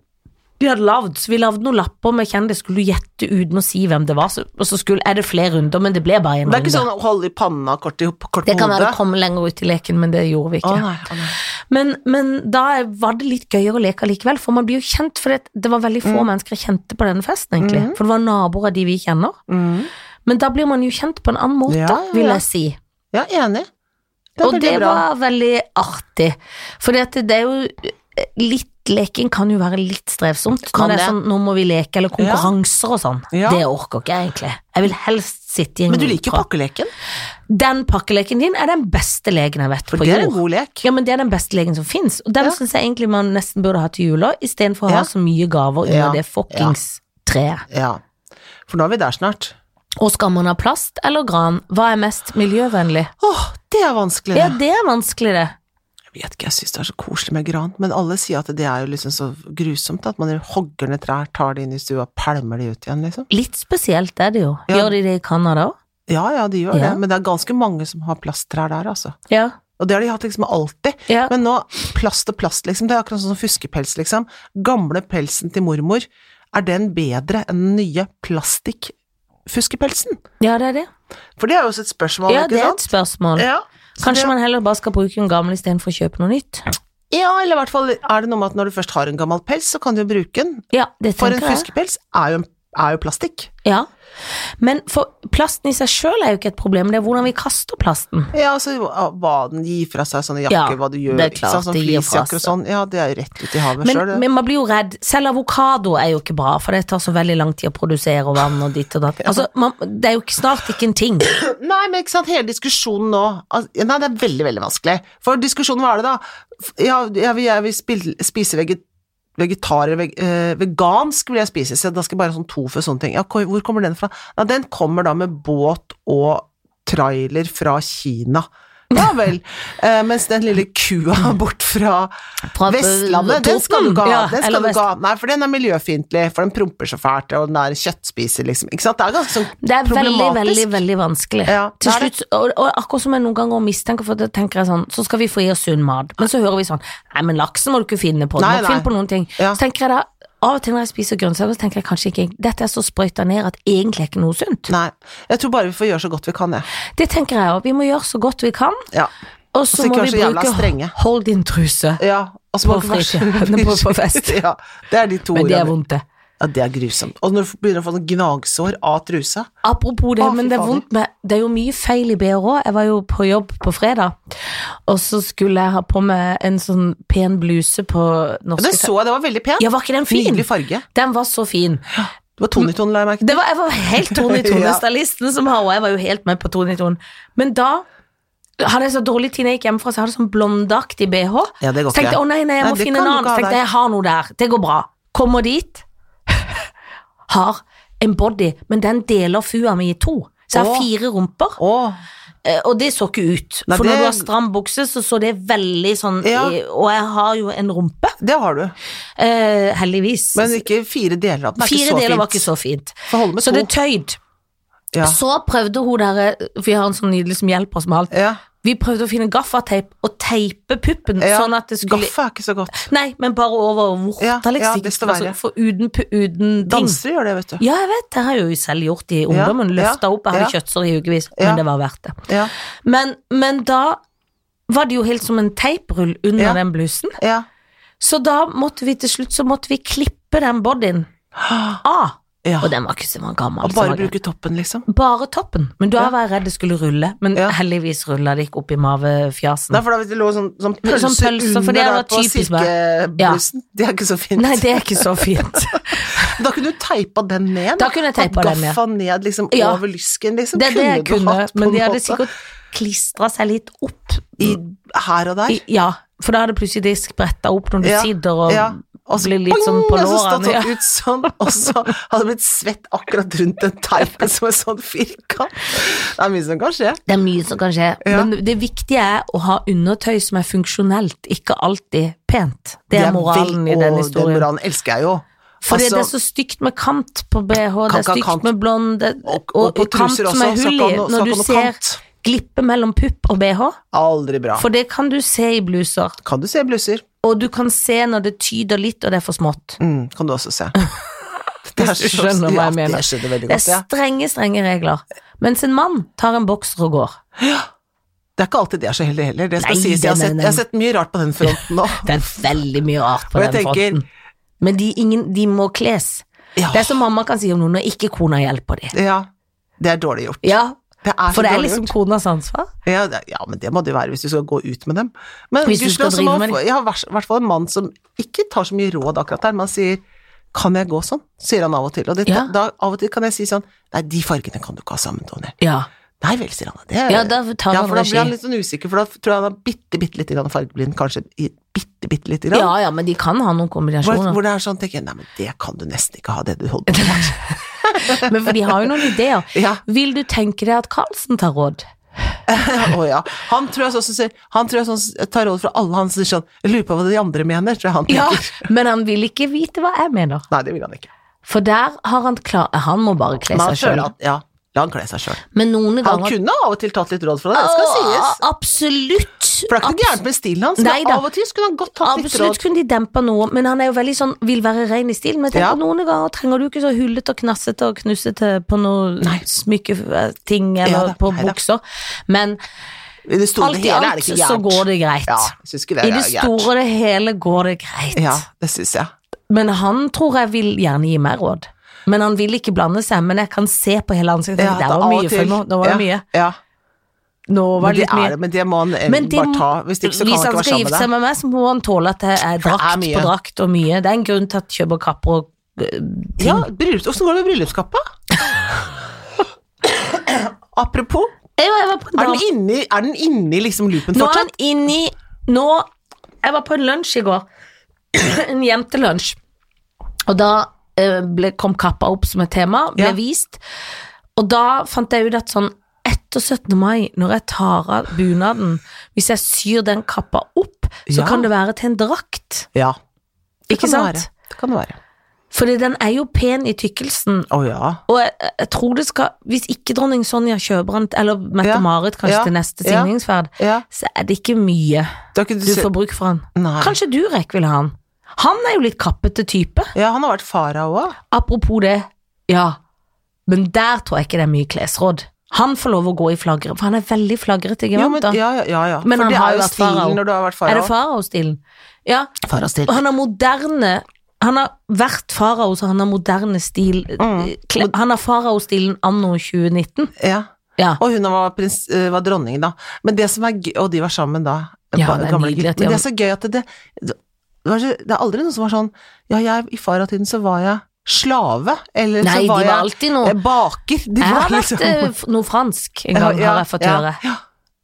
Speaker 2: de hadde lagd. Så vi lagde noen lapper med kjendis, skulle du gjette uten å si hvem det var. Så, og så skulle, er det flere runder, men det ble bare én
Speaker 1: Det er
Speaker 2: runde.
Speaker 1: ikke sånn å holde i panna kort, i, kort på
Speaker 2: det kan være
Speaker 1: hodet?
Speaker 2: det kom lenger ut i leken, men det gjorde vi
Speaker 1: Å,
Speaker 2: ikke.
Speaker 1: nei, å, nei.
Speaker 2: Men, men da var det litt gøyere å leke allikevel, for man blir jo kjent, for det, det var veldig
Speaker 1: Mm.
Speaker 2: få mennesker jeg kjente på denne festen, egentlig. For det var naboer av de vi kjenner.
Speaker 1: Mm.
Speaker 2: Men da blir man jo kjent på en annen måte,
Speaker 1: Ja, ja,
Speaker 2: vil
Speaker 1: ja.
Speaker 2: jeg si.
Speaker 1: Ja, enig. Det er
Speaker 2: og
Speaker 1: veldig
Speaker 2: det
Speaker 1: bra.
Speaker 2: var veldig artig. For det det er jo eh, litt Leking kan jo være litt strevsomt.
Speaker 1: Kan
Speaker 2: når det er
Speaker 1: det.
Speaker 2: sånn, nå må vi leke, eller konkurranser og sånn.
Speaker 1: Ja.
Speaker 2: Det orker ikke jeg egentlig. Jeg vil helst sitte i en
Speaker 1: Men du liker jo
Speaker 2: gruppe.
Speaker 1: pakkeleken,
Speaker 2: Den pakkeleken din er den beste leken jeg vet
Speaker 1: for
Speaker 2: på
Speaker 1: det er en
Speaker 2: jord.
Speaker 1: god lek.
Speaker 2: Ja, men det er den beste leken som fins, og den
Speaker 1: Ja.
Speaker 2: synes syns jeg egentlig man nesten burde ha til jula, istedenfor å
Speaker 1: Ja.
Speaker 2: ha så mye gaver under
Speaker 1: Ja.
Speaker 2: det fuckings treet.
Speaker 1: Ja. For nå er vi der snart.
Speaker 2: Og skal man ha plast eller gran? Hva er mest miljøvennlig?
Speaker 1: Åh, det er vanskelig,
Speaker 2: Ja,
Speaker 1: det.
Speaker 2: det er vanskelig, det.
Speaker 1: Jeg vet ikke, jeg syns det er så koselig med gran, men alle sier at det er jo liksom så grusomt at man hogger ned trær, tar de inn i stua, pælmer de ut igjen, liksom.
Speaker 2: Litt spesielt er det jo.
Speaker 1: Ja.
Speaker 2: Gjør de det i Canada òg?
Speaker 1: Ja ja, de gjør
Speaker 2: Ja.
Speaker 1: det, men det er ganske mange som har plasttrær der, altså.
Speaker 2: Ja.
Speaker 1: Og det har de hatt liksom alltid.
Speaker 2: ja.
Speaker 1: Men nå, plast og plast, liksom, det er akkurat sånn som fuskepels, liksom. Gamle pelsen til mormor, er den bedre enn den nye plastikkfuskepelsen?
Speaker 2: ja, det er det.
Speaker 1: For det er jo også et spørsmål,
Speaker 2: Ja,
Speaker 1: ikke
Speaker 2: det er et
Speaker 1: sant?
Speaker 2: spørsmål.
Speaker 1: Ja, så
Speaker 2: Kanskje
Speaker 1: det-
Speaker 2: man heller bare skal bruke en gammel istedenfor å kjøpe noe nytt.
Speaker 1: Ja, eller i hvert fall er det noe med at når du først har en gammel pels, så kan du jo bruke den.
Speaker 2: Ja, det
Speaker 1: For en
Speaker 2: tenker jeg.
Speaker 1: fuskepels er jo, en- er jo plastikk.
Speaker 2: Ja. Men for plasten i seg sjøl er jo ikke et problem, det er hvordan vi kaster plasten.
Speaker 1: Ja, altså hva den gir fra seg, sånne jakker,
Speaker 2: Ja,
Speaker 1: hva du gjør,
Speaker 2: det er
Speaker 1: ikke sant,
Speaker 2: klart,
Speaker 1: sånn
Speaker 2: det gir fra
Speaker 1: fleecejakker og sånn, ja, det er jo rett ut i havet
Speaker 2: Men,
Speaker 1: sjøl, det.
Speaker 2: men man blir jo redd. Selv avokado er jo ikke bra, for det tar så veldig lang tid å produsere og vann og ditt og datt. Altså, man, det er jo ikke- snart ikke en ting.
Speaker 1: Nei, men ikke sant, hele diskusjonen nå altså, Nei, det er veldig, veldig vanskelig. For diskusjonen, hva er det da? F- Ja, jeg vil, jeg vil spil- spise veget, vegetar eller veg, eh, vegansk vil jeg spise, så da skal jeg bare ha sånn tofu og sånne ting. Ja, hvor hvor kommer den fra? Nei, den kommer da med båt og trailer fra Kina. Ja vel. Eh, mens den lille kua bort fra
Speaker 2: Fra, eh,
Speaker 1: Vestlandet, den skal du ikke ha.
Speaker 2: Ja,
Speaker 1: den
Speaker 2: eller
Speaker 1: skal du
Speaker 2: Vest-
Speaker 1: ikke ha. Nei, for den er miljøfiendtlig, for den promper så fælt, og den er kjøttspiser, liksom. Ikke sant? Det er ganske sånn
Speaker 2: Det er veldig,
Speaker 1: problematisk.
Speaker 2: veldig veldig vanskelig.
Speaker 1: Ja,
Speaker 2: Til
Speaker 1: det er
Speaker 2: slutt, og, og akkurat som jeg noen ganger mistenker, for da tenker jeg sånn, så skal vi få i oss sunn mat. Men så hører vi sånn, nei, men laksen må du ikke finne på. Du
Speaker 1: Nei,
Speaker 2: må
Speaker 1: nei.
Speaker 2: finne på noen ting.
Speaker 1: Ja.
Speaker 2: Så tenker jeg da, av og til når jeg spiser grønnsaker, så tenker jeg kanskje ikke, dette er så sprøyta ned at egentlig er ikke noe sunt.
Speaker 1: Nei. Jeg tror bare vi får gjøre så godt vi kan, jeg.
Speaker 2: Det tenker jeg òg. Vi må gjøre så godt vi kan,
Speaker 1: Ja.
Speaker 2: og
Speaker 1: Og så
Speaker 2: så
Speaker 1: ikke
Speaker 2: må
Speaker 1: være
Speaker 2: vi
Speaker 1: så jævla strenge.
Speaker 2: bruke hold din truse.
Speaker 1: ja. Og så må
Speaker 2: På
Speaker 1: du ikke være så-
Speaker 2: fritiden, på- på fest.
Speaker 1: ja, det er de to
Speaker 2: Men det er
Speaker 1: ordene.
Speaker 2: vondt, det.
Speaker 1: Ja, det er grusomt. Og når du begynner å få sånn gnagsår av trusa
Speaker 2: Apropos det,
Speaker 1: Å, fy
Speaker 2: men det er
Speaker 1: fader.
Speaker 2: vondt med Det er jo mye feil i BH. Jeg var jo på jobb på fredag, og så skulle jeg ha på meg en sånn pen bluse på
Speaker 1: Ja,
Speaker 2: norske
Speaker 1: Den så jeg, det var veldig pen.
Speaker 2: Ja, var ikke den fin?
Speaker 1: Nydelig farge.
Speaker 2: Den var så fin.
Speaker 1: Det var Tony-ton, la jeg merke til.
Speaker 2: Det var, jeg var helt Tony Tone,
Speaker 1: Ja.
Speaker 2: stylisten som har, og jeg var jo helt med på Tony Tone. Men da hadde jeg så dårlig tid når jeg gikk hjemmefra, så jeg hadde sånn blondeaktig BH.
Speaker 1: Ja, det går
Speaker 2: så tenkte jeg
Speaker 1: ikke.
Speaker 2: å nei, nei, jeg
Speaker 1: Nei,
Speaker 2: må
Speaker 1: det
Speaker 2: finne
Speaker 1: kan
Speaker 2: en
Speaker 1: du
Speaker 2: annen.
Speaker 1: ikke ha
Speaker 2: Så tenkte
Speaker 1: der.
Speaker 2: jeg jeg har noe der, det går bra. Kommer dit, har en body, men den deler fua mi i to. Så jeg
Speaker 1: Åh.
Speaker 2: har fire rumper,
Speaker 1: Å,
Speaker 2: eh, og det så ikke ut.
Speaker 1: Nei,
Speaker 2: For når
Speaker 1: det-
Speaker 2: du har stram bukse, så så det veldig sånn
Speaker 1: Ja.
Speaker 2: eh, Og jeg har jo en rumpe,
Speaker 1: det har du.
Speaker 2: eh, heldigvis.
Speaker 1: Men ikke fire deler av den. Det er
Speaker 2: Fire
Speaker 1: ikke så
Speaker 2: deler
Speaker 1: fint.
Speaker 2: var ikke så fint.
Speaker 1: Får holde med
Speaker 2: Så
Speaker 1: to.
Speaker 2: det er tøyd.
Speaker 1: Ja.
Speaker 2: Så prøvde hun der Vi har en sånn nydelig som hjelper oss med alt.
Speaker 1: ja.
Speaker 2: Vi prøvde å finne gaffateip og teipe puppen,
Speaker 1: ja.
Speaker 2: sånn at det skulle
Speaker 1: Gaffe er ikke så godt.
Speaker 2: Nei, men bare over
Speaker 1: Ja,
Speaker 2: vorta,
Speaker 1: ja,
Speaker 2: liksom.
Speaker 1: desto
Speaker 2: Altså,
Speaker 1: verre.
Speaker 2: for uten, pu- uten ting.
Speaker 1: Dansere gjør det, vet du.
Speaker 2: Ja, jeg vet, det har jeg jo selv gjort i ungdommen.
Speaker 1: ja,
Speaker 2: Løfta opp, jeg hadde
Speaker 1: ja.
Speaker 2: kjøttsår i ukevis,
Speaker 1: Ja.
Speaker 2: men det var verdt det.
Speaker 1: Ja.
Speaker 2: Men, men da var det jo helt som en teiprull under
Speaker 1: Ja.
Speaker 2: den blusen.
Speaker 1: ja.
Speaker 2: Så da måtte vi til slutt så måtte vi klippe den bodyen av.
Speaker 1: ja.
Speaker 2: Og den var ikke så gammel.
Speaker 1: Og
Speaker 2: så var
Speaker 1: bare
Speaker 2: den-
Speaker 1: bruke toppen, liksom.
Speaker 2: Bare toppen, men da
Speaker 1: Ja.
Speaker 2: var jeg redd det skulle rulle. Men
Speaker 1: Ja.
Speaker 2: heldigvis rulla det ikke opp i mavefjasen.
Speaker 1: Nei, for da hvis det lå sånn, sånn pølser
Speaker 2: Sånn pølser, for
Speaker 1: under
Speaker 2: det
Speaker 1: der
Speaker 2: var
Speaker 1: på
Speaker 2: typisk meg. Ja.
Speaker 1: silkeblussen, det er ikke så fint.
Speaker 2: Nei, det er ikke så fint.
Speaker 1: Da kunne du teipa den ned.
Speaker 2: Da kunne jeg teipa den ned.
Speaker 1: Gaffa ned liksom
Speaker 2: Ja.
Speaker 1: over lysken, liksom.
Speaker 2: Det er det jeg
Speaker 1: du
Speaker 2: kunne,
Speaker 1: hatt på
Speaker 2: men
Speaker 1: en
Speaker 2: de hadde
Speaker 1: måte
Speaker 2: sikkert klistra seg litt opp.
Speaker 1: i, her og der.
Speaker 2: I, ja, for da hadde plutselig de spretta opp når du
Speaker 1: Ja,
Speaker 2: sitter og
Speaker 1: ja. Og så
Speaker 2: Blir litt sånn på
Speaker 1: boing, og så
Speaker 2: lårene,
Speaker 1: stått
Speaker 2: ja.
Speaker 1: sånn ut sånn, og så hadde det blitt svett akkurat rundt den teipen som en sånn firkant. Det er mye som kan skje.
Speaker 2: Det er mye som kan skje,
Speaker 1: Ja.
Speaker 2: men det viktige er å ha undertøy som er funksjonelt, ikke alltid pent. Det er moralen
Speaker 1: vel-
Speaker 2: i den
Speaker 1: Å, Den
Speaker 2: historien.
Speaker 1: moralen elsker jeg jo.
Speaker 2: For
Speaker 1: Altså,
Speaker 2: det er så stygt med kant på BH, det
Speaker 1: Kan
Speaker 2: er
Speaker 1: ikke ha
Speaker 2: stygt
Speaker 1: kant.
Speaker 2: med blond, det,
Speaker 1: Og- og på
Speaker 2: kant
Speaker 1: truser
Speaker 2: som er
Speaker 1: også,
Speaker 2: hull
Speaker 1: skal
Speaker 2: i,
Speaker 1: ikke ha noe- skal
Speaker 2: når
Speaker 1: ikke
Speaker 2: du
Speaker 1: ha noe
Speaker 2: ser
Speaker 1: kant.
Speaker 2: glippe mellom pupp og BH,
Speaker 1: aldri bra.
Speaker 2: for det kan du se i bluser.
Speaker 1: Kan du se blusser?
Speaker 2: Og du kan se når det tyder litt, og det er for smått.
Speaker 1: Mm, kan du også se. Det er
Speaker 2: Hvis du
Speaker 1: så-
Speaker 2: skjønner hva jeg
Speaker 1: ja, det
Speaker 2: mener.
Speaker 1: skjønner veldig
Speaker 2: Det er
Speaker 1: godt, ja.
Speaker 2: strenge, strenge regler. Mens en mann tar en bokser og går.
Speaker 1: Det er ikke alltid det er så heldig heller. Det skal
Speaker 2: Nei,
Speaker 1: sies. Jeg har,
Speaker 2: nei,
Speaker 1: sett,
Speaker 2: nei.
Speaker 1: jeg har sett mye rart på den fronten nå.
Speaker 2: Det er veldig mye rart på
Speaker 1: Og
Speaker 2: den
Speaker 1: jeg tenker-
Speaker 2: fronten. Men de, ingen, de må kles.
Speaker 1: Ja,
Speaker 2: Det er som mamma kan si om noen når ikke kona hjelper dem.
Speaker 1: ja, det er dårlig gjort.
Speaker 2: Ja,
Speaker 1: Det er så
Speaker 2: for det er
Speaker 1: dårlig
Speaker 2: liksom
Speaker 1: gjort.
Speaker 2: konas ansvar.
Speaker 1: Ja, det, ja, men det må det være hvis du skal gå ut med dem. Men
Speaker 2: Hvis du
Speaker 1: gudskjelov
Speaker 2: skal
Speaker 1: så må
Speaker 2: drive med
Speaker 1: få- Jeg har i hvert fall en mann som ikke tar så mye råd akkurat der, men han sier 'kan jeg gå sånn', sier han av og til. Og det,
Speaker 2: Ja.
Speaker 1: da, av og til kan jeg si sånn 'nei, de fargene kan du ikke ha sammen, Tony'.
Speaker 2: Ja,
Speaker 1: Nei vel, sier han. Det er,
Speaker 2: ja da tar
Speaker 1: ja,
Speaker 2: han
Speaker 1: for da blir han
Speaker 2: regi.
Speaker 1: litt sånn usikker, for da tror jeg han er bitte, bitte lite grann fargeblind, kanskje i- bitte, bitte lite grann.
Speaker 2: Ja, ja, men de kan ha noen
Speaker 1: Hvor,
Speaker 2: kombinasjoner.
Speaker 1: hvor det er sånn, tenker jeg, nei, men det kan du nesten ikke ha, det du holder på med.
Speaker 2: Men for de har jo noen ideer.
Speaker 1: Ja,
Speaker 2: Vil du tenke deg at Karlsen tar råd?
Speaker 1: å ja. Han tror jeg sånn som sier, han tror jeg sånn tar råd fra alle han sier sånn, jeg lurer på hva de andre mener, tror jeg han
Speaker 2: Ja,
Speaker 1: tenker.
Speaker 2: men han vil ikke vite hva jeg mener.
Speaker 1: Nei, det vil han ikke.
Speaker 2: For der har han klar Eh, Han må bare kle
Speaker 1: Men han
Speaker 2: seg sjøl.
Speaker 1: føler at, ja, la han kle seg sjøl.
Speaker 2: Men noen
Speaker 1: Han
Speaker 2: ganger
Speaker 1: kunne av og til tatt litt råd fra deg, det skal sies.
Speaker 2: Å, Absolutt.
Speaker 1: For det er ikke noe gærent med stilen hans,
Speaker 2: Nei
Speaker 1: men
Speaker 2: da.
Speaker 1: av og til skulle han godt tatt litt
Speaker 2: Absolutt
Speaker 1: råd.
Speaker 2: kunne de dempa noe, men han er jo veldig sånn vil være ren i stil. Men jeg
Speaker 1: Ja.
Speaker 2: tenker noen ganger trenger du ikke så hullete og knassete og knusete på noe
Speaker 1: Nei.
Speaker 2: smykketing
Speaker 1: Ja
Speaker 2: eller
Speaker 1: da,
Speaker 2: på
Speaker 1: nei da.
Speaker 2: bukser, men
Speaker 1: I det store
Speaker 2: alt
Speaker 1: og
Speaker 2: i
Speaker 1: hele er det
Speaker 2: alt
Speaker 1: ikke
Speaker 2: så
Speaker 1: gærent.
Speaker 2: går det greit.
Speaker 1: Ja, jeg synes ikke det
Speaker 2: I
Speaker 1: er
Speaker 2: det
Speaker 1: gærent.
Speaker 2: store og det hele går det greit.
Speaker 1: Ja, det synes jeg.
Speaker 2: Men han tror jeg vil gjerne gi meg råd. Men han vil ikke blande seg, men jeg kan se på hele ansiktet.
Speaker 1: Ja,
Speaker 2: Ja, der
Speaker 1: at
Speaker 2: var
Speaker 1: av og
Speaker 2: mye, for
Speaker 1: til-
Speaker 2: nå, nå var det mye.
Speaker 1: ja, Ja,
Speaker 2: Nå var
Speaker 1: Men
Speaker 2: det
Speaker 1: det,
Speaker 2: litt mye.
Speaker 1: er, det, men det må han eh,
Speaker 2: Men det
Speaker 1: bare
Speaker 2: må-
Speaker 1: ta, hvis ikke så kan han
Speaker 2: Hvis
Speaker 1: ikke være
Speaker 2: han skal
Speaker 1: sammen med
Speaker 2: gifte
Speaker 1: deg.
Speaker 2: seg med meg, så må han tåle at det er
Speaker 1: det er
Speaker 2: drakt
Speaker 1: mye.
Speaker 2: på drakt og mye. Det er en grunn til at kjøper kapper og øh, ting.
Speaker 1: Ja, bryllups, Åssen går det med bryllupskappa? Apropos,
Speaker 2: Jeg var, jeg var på en
Speaker 1: er den
Speaker 2: dame-
Speaker 1: inni, er den inni liksom loopen
Speaker 2: Nå er han
Speaker 1: fortsatt?
Speaker 2: inni Nå Jeg var på en lunsj i går. en jentelunsj. Og da eh, ble, kom kappa opp som et tema, ble
Speaker 1: Ja.
Speaker 2: vist. Og da fant jeg ut at sånn etter 17. mai, når jeg tar av bunaden Hvis jeg syr den kappa opp, så
Speaker 1: Ja.
Speaker 2: kan det være til en drakt.
Speaker 1: Ja. Det kan
Speaker 2: Ikke
Speaker 1: det
Speaker 2: sant?
Speaker 1: være. Det kan det være.
Speaker 2: Fordi den er jo pen i tykkelsen,
Speaker 1: Å ja.
Speaker 2: og jeg, jeg tror det skal Hvis ikke dronning Sonja kjøper den, eller
Speaker 1: Ja.
Speaker 2: Mette-Marit kanskje
Speaker 1: Ja.
Speaker 2: til neste
Speaker 1: Ja.
Speaker 2: signingsferd,
Speaker 1: ja.
Speaker 2: så er det ikke mye
Speaker 1: Det har ikke
Speaker 2: du
Speaker 1: se-
Speaker 2: får bruk for den.
Speaker 1: Nei.
Speaker 2: Kanskje Durek ville ha han. Han er jo litt kappete type.
Speaker 1: Ja, han har vært farao òg.
Speaker 2: Apropos det, ja. Men der tror jeg ikke det er mye klesråd. Han får lov å gå i flagre, for han er veldig flagrete
Speaker 1: Ja, men,
Speaker 2: gevant. da.
Speaker 1: ja, ja, ja, ja.
Speaker 2: Men
Speaker 1: For
Speaker 2: han
Speaker 1: det
Speaker 2: har
Speaker 1: er
Speaker 2: jo
Speaker 1: jo
Speaker 2: vært farao.
Speaker 1: stilen når du har vært
Speaker 2: er
Speaker 1: farao.
Speaker 2: det faraostilen? Ja, og
Speaker 1: Faraostil.
Speaker 2: han har moderne Han har vært farao, så han har moderne stil eh,
Speaker 1: Mm.
Speaker 2: kle- Han har faraostilen anno 2019.
Speaker 1: Ja.
Speaker 2: Ja.
Speaker 1: Og hun var, prins, eh, var dronning, da. Men det som er gøy, og de var sammen da.
Speaker 2: Ja,
Speaker 1: ba-
Speaker 2: det er
Speaker 1: gamle
Speaker 2: nydelig
Speaker 1: gutter.
Speaker 2: at de
Speaker 1: Men det
Speaker 2: har-
Speaker 1: er så gøy at det, det, det, var så, det er aldri noen som var sånn Ja, jeg, i faratiden så var jeg slave, eller
Speaker 2: Nei,
Speaker 1: så
Speaker 2: de
Speaker 1: var
Speaker 2: var
Speaker 1: jeg
Speaker 2: alltid noe
Speaker 1: eh, baker. De
Speaker 2: Jeg
Speaker 1: var
Speaker 2: har
Speaker 1: liksom
Speaker 2: vært eh, f- noe fransk en gang, har jeg fått
Speaker 1: ja,
Speaker 2: høre.
Speaker 1: Ja,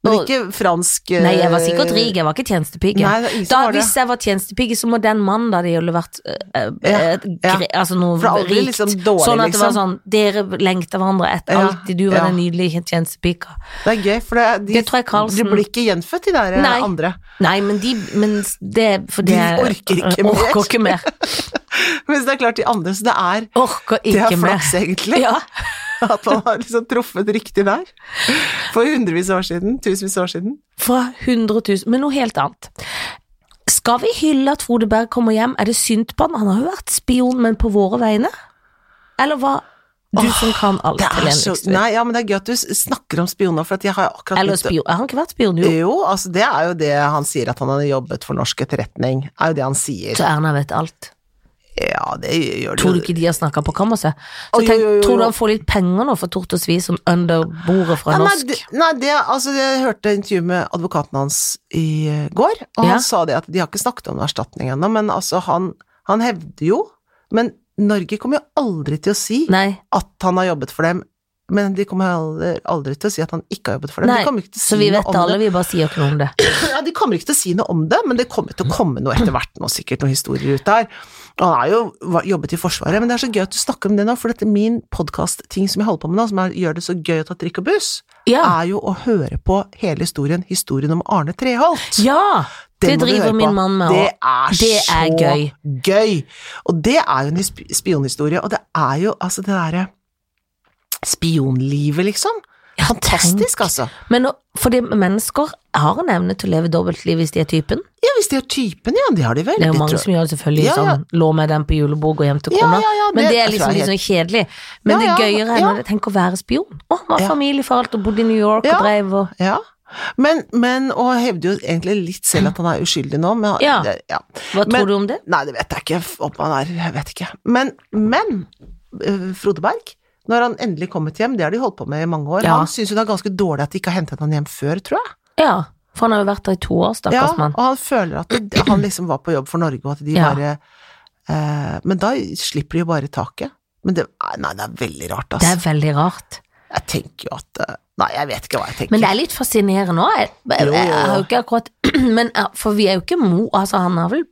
Speaker 1: Men ikke fransk eh,
Speaker 2: Nei, jeg var sikkert rik, jeg var ikke tjenestepike.
Speaker 1: Nei, det er ingen
Speaker 2: Da,
Speaker 1: som var det.
Speaker 2: hvis jeg var tjenestepike, så må den mannen da det ville vært eh, eh,
Speaker 1: Ja, ja.
Speaker 2: gre- Altså noe
Speaker 1: For aldri
Speaker 2: rikt.
Speaker 1: liksom dårlig,
Speaker 2: sånn at det var
Speaker 1: liksom.
Speaker 2: sånn Dere lengta hverandre etter
Speaker 1: Ja,
Speaker 2: alltid. Du var
Speaker 1: ja.
Speaker 2: den nydelige tjenestepika.
Speaker 1: Det er gøy, for det, er- de,
Speaker 2: Det tror jeg Carlsen-
Speaker 1: de blir ikke gjenfødt, de der eh,
Speaker 2: Nei.
Speaker 1: andre.
Speaker 2: Nei, men de men s- det, for
Speaker 1: De
Speaker 2: det
Speaker 1: orker ikke
Speaker 2: jeg
Speaker 1: mer.
Speaker 2: Orker ikke mer.
Speaker 1: Mens det er klart de andre, så det er
Speaker 2: Orker
Speaker 1: det er
Speaker 2: ikke mer.
Speaker 1: flaks, egentlig.
Speaker 2: Ja.
Speaker 1: At man har liksom truffet riktig der. For hundrevis av år siden. Tusenvis av år siden.
Speaker 2: Fra 100 000 Men noe helt annet. Skal vi hylle at Frode Berg kommer hjem? Er det synd på han? Han har jo vært spion, men på våre vegne? Eller hva? Du som kan alt,
Speaker 1: Det er
Speaker 2: Helene
Speaker 1: så,
Speaker 2: Lyksvik.
Speaker 1: nei, ja, men det er gøy at du s- snakker om spioner, for at jeg har akkurat
Speaker 2: Eller
Speaker 1: begynt å-
Speaker 2: spion. Har han ikke vært spion, jo?
Speaker 1: Jo, altså det er jo det han sier, at han har jobbet for norsk etterretning. er jo det han sier.
Speaker 2: Så Erna vet alt.
Speaker 1: Ja, det gjør
Speaker 2: Tror du
Speaker 1: det jo.
Speaker 2: ikke de har snakka på kammerset?
Speaker 1: Å,
Speaker 2: Så
Speaker 1: jo,
Speaker 2: tenk,
Speaker 1: jo, jo,
Speaker 2: tror du
Speaker 1: jo.
Speaker 2: han får litt penger nå for tort og svi som under bordet fra
Speaker 1: Ja, nei,
Speaker 2: norsk?
Speaker 1: det, nei, det, altså, jeg hørte intervju med advokaten hans i eh, går, og
Speaker 2: Ja.
Speaker 1: han sa det at de har ikke snakket om erstatning ennå, men altså, han, han hevder jo Men Norge kommer jo aldri til å si
Speaker 2: Nei.
Speaker 1: at han har jobbet for dem, Men de kommer aldri, aldri til å si at han ikke har jobbet for dem.
Speaker 2: Nei,
Speaker 1: de kommer ikke til å
Speaker 2: så
Speaker 1: si
Speaker 2: vi
Speaker 1: noe
Speaker 2: vet
Speaker 1: om
Speaker 2: alle,
Speaker 1: det.
Speaker 2: vi bare sier ikke noe om det.
Speaker 1: Ja, de kommer ikke til å si noe om det, men det kommer til å komme noe etter hvert nå, sikkert noen historier ut der. Og han har jo va- jobbet i Forsvaret, men det er så gøy at du snakker om det nå, for dette min podkast-ting som jeg holder på med nå, som er, gjør det så gøy å ta trikk og buss,
Speaker 2: Ja.
Speaker 1: er jo å høre på hele historien, historien om Arne Treholt.
Speaker 2: Ja! Det,
Speaker 1: må du høre
Speaker 2: driver
Speaker 1: på.
Speaker 2: min mann med
Speaker 1: Det
Speaker 2: òg.
Speaker 1: er,
Speaker 2: Det er
Speaker 1: så
Speaker 2: gøy.
Speaker 1: gøy. Og det er jo en sp- spionhistorie, og det er jo altså det derre Spionlivet, liksom.
Speaker 2: Ja,
Speaker 1: Fantastisk, altså.
Speaker 2: Men nå- fordi mennesker har en evne til å leve dobbeltliv hvis de er typen.
Speaker 1: Ja, hvis de har typen, ja, det har de vel.
Speaker 2: Det er jo
Speaker 1: Det
Speaker 2: mange
Speaker 1: tror-
Speaker 2: som gjør det selvfølgelig
Speaker 1: Ja, ja.
Speaker 2: sånn lå med den på julebord og hjem til
Speaker 1: Ja,
Speaker 2: kona,
Speaker 1: ja, ja,
Speaker 2: men
Speaker 1: det-
Speaker 2: det
Speaker 1: jeg
Speaker 2: er
Speaker 1: tror
Speaker 2: liksom
Speaker 1: jeg
Speaker 2: litt
Speaker 1: er
Speaker 2: sånn kjedelig. Men
Speaker 1: Ja,
Speaker 2: det
Speaker 1: ja,
Speaker 2: gøyere enn
Speaker 1: ja.
Speaker 2: å tenke å være spion. Å, han var
Speaker 1: Ja.
Speaker 2: familie for alt og bodde i New York
Speaker 1: Ja.
Speaker 2: og drev og
Speaker 1: Ja. Men, men, og hevder jo egentlig litt selv at han er uskyldig nå, men
Speaker 2: Ja.
Speaker 1: det, ja.
Speaker 2: Hva
Speaker 1: Men-
Speaker 2: tror du om det?
Speaker 1: Nei, det vet jeg ikke om han er, jeg vet ikke. Men, men eh, Frode Berg, når han endelig kommet hjem, det har de holdt på med i mange år,
Speaker 2: Ja.
Speaker 1: han syns jo det er ganske dårlig at de ikke har hentet han hjem før, tror jeg.
Speaker 2: Ja, for han har jo vært der i to år,
Speaker 1: Ja,
Speaker 2: stakkars mann.
Speaker 1: og han føler at det, han liksom var på jobb for Norge, og at de
Speaker 2: Ja.
Speaker 1: bare eh, Men da slipper de jo bare taket. Men det, nei, det er veldig rart,
Speaker 2: Det
Speaker 1: altså.
Speaker 2: er veldig rart.
Speaker 1: Jeg tenker jo at eh, Nei, jeg vet ikke hva jeg tenker.
Speaker 2: Men det er litt fascinerende òg. Jeg,
Speaker 1: Jo,
Speaker 2: jeg,
Speaker 1: jo,
Speaker 2: jeg,
Speaker 1: jo.
Speaker 2: har jo ikke akkurat Men eh, For vi er jo ikke mo... Altså, han har vel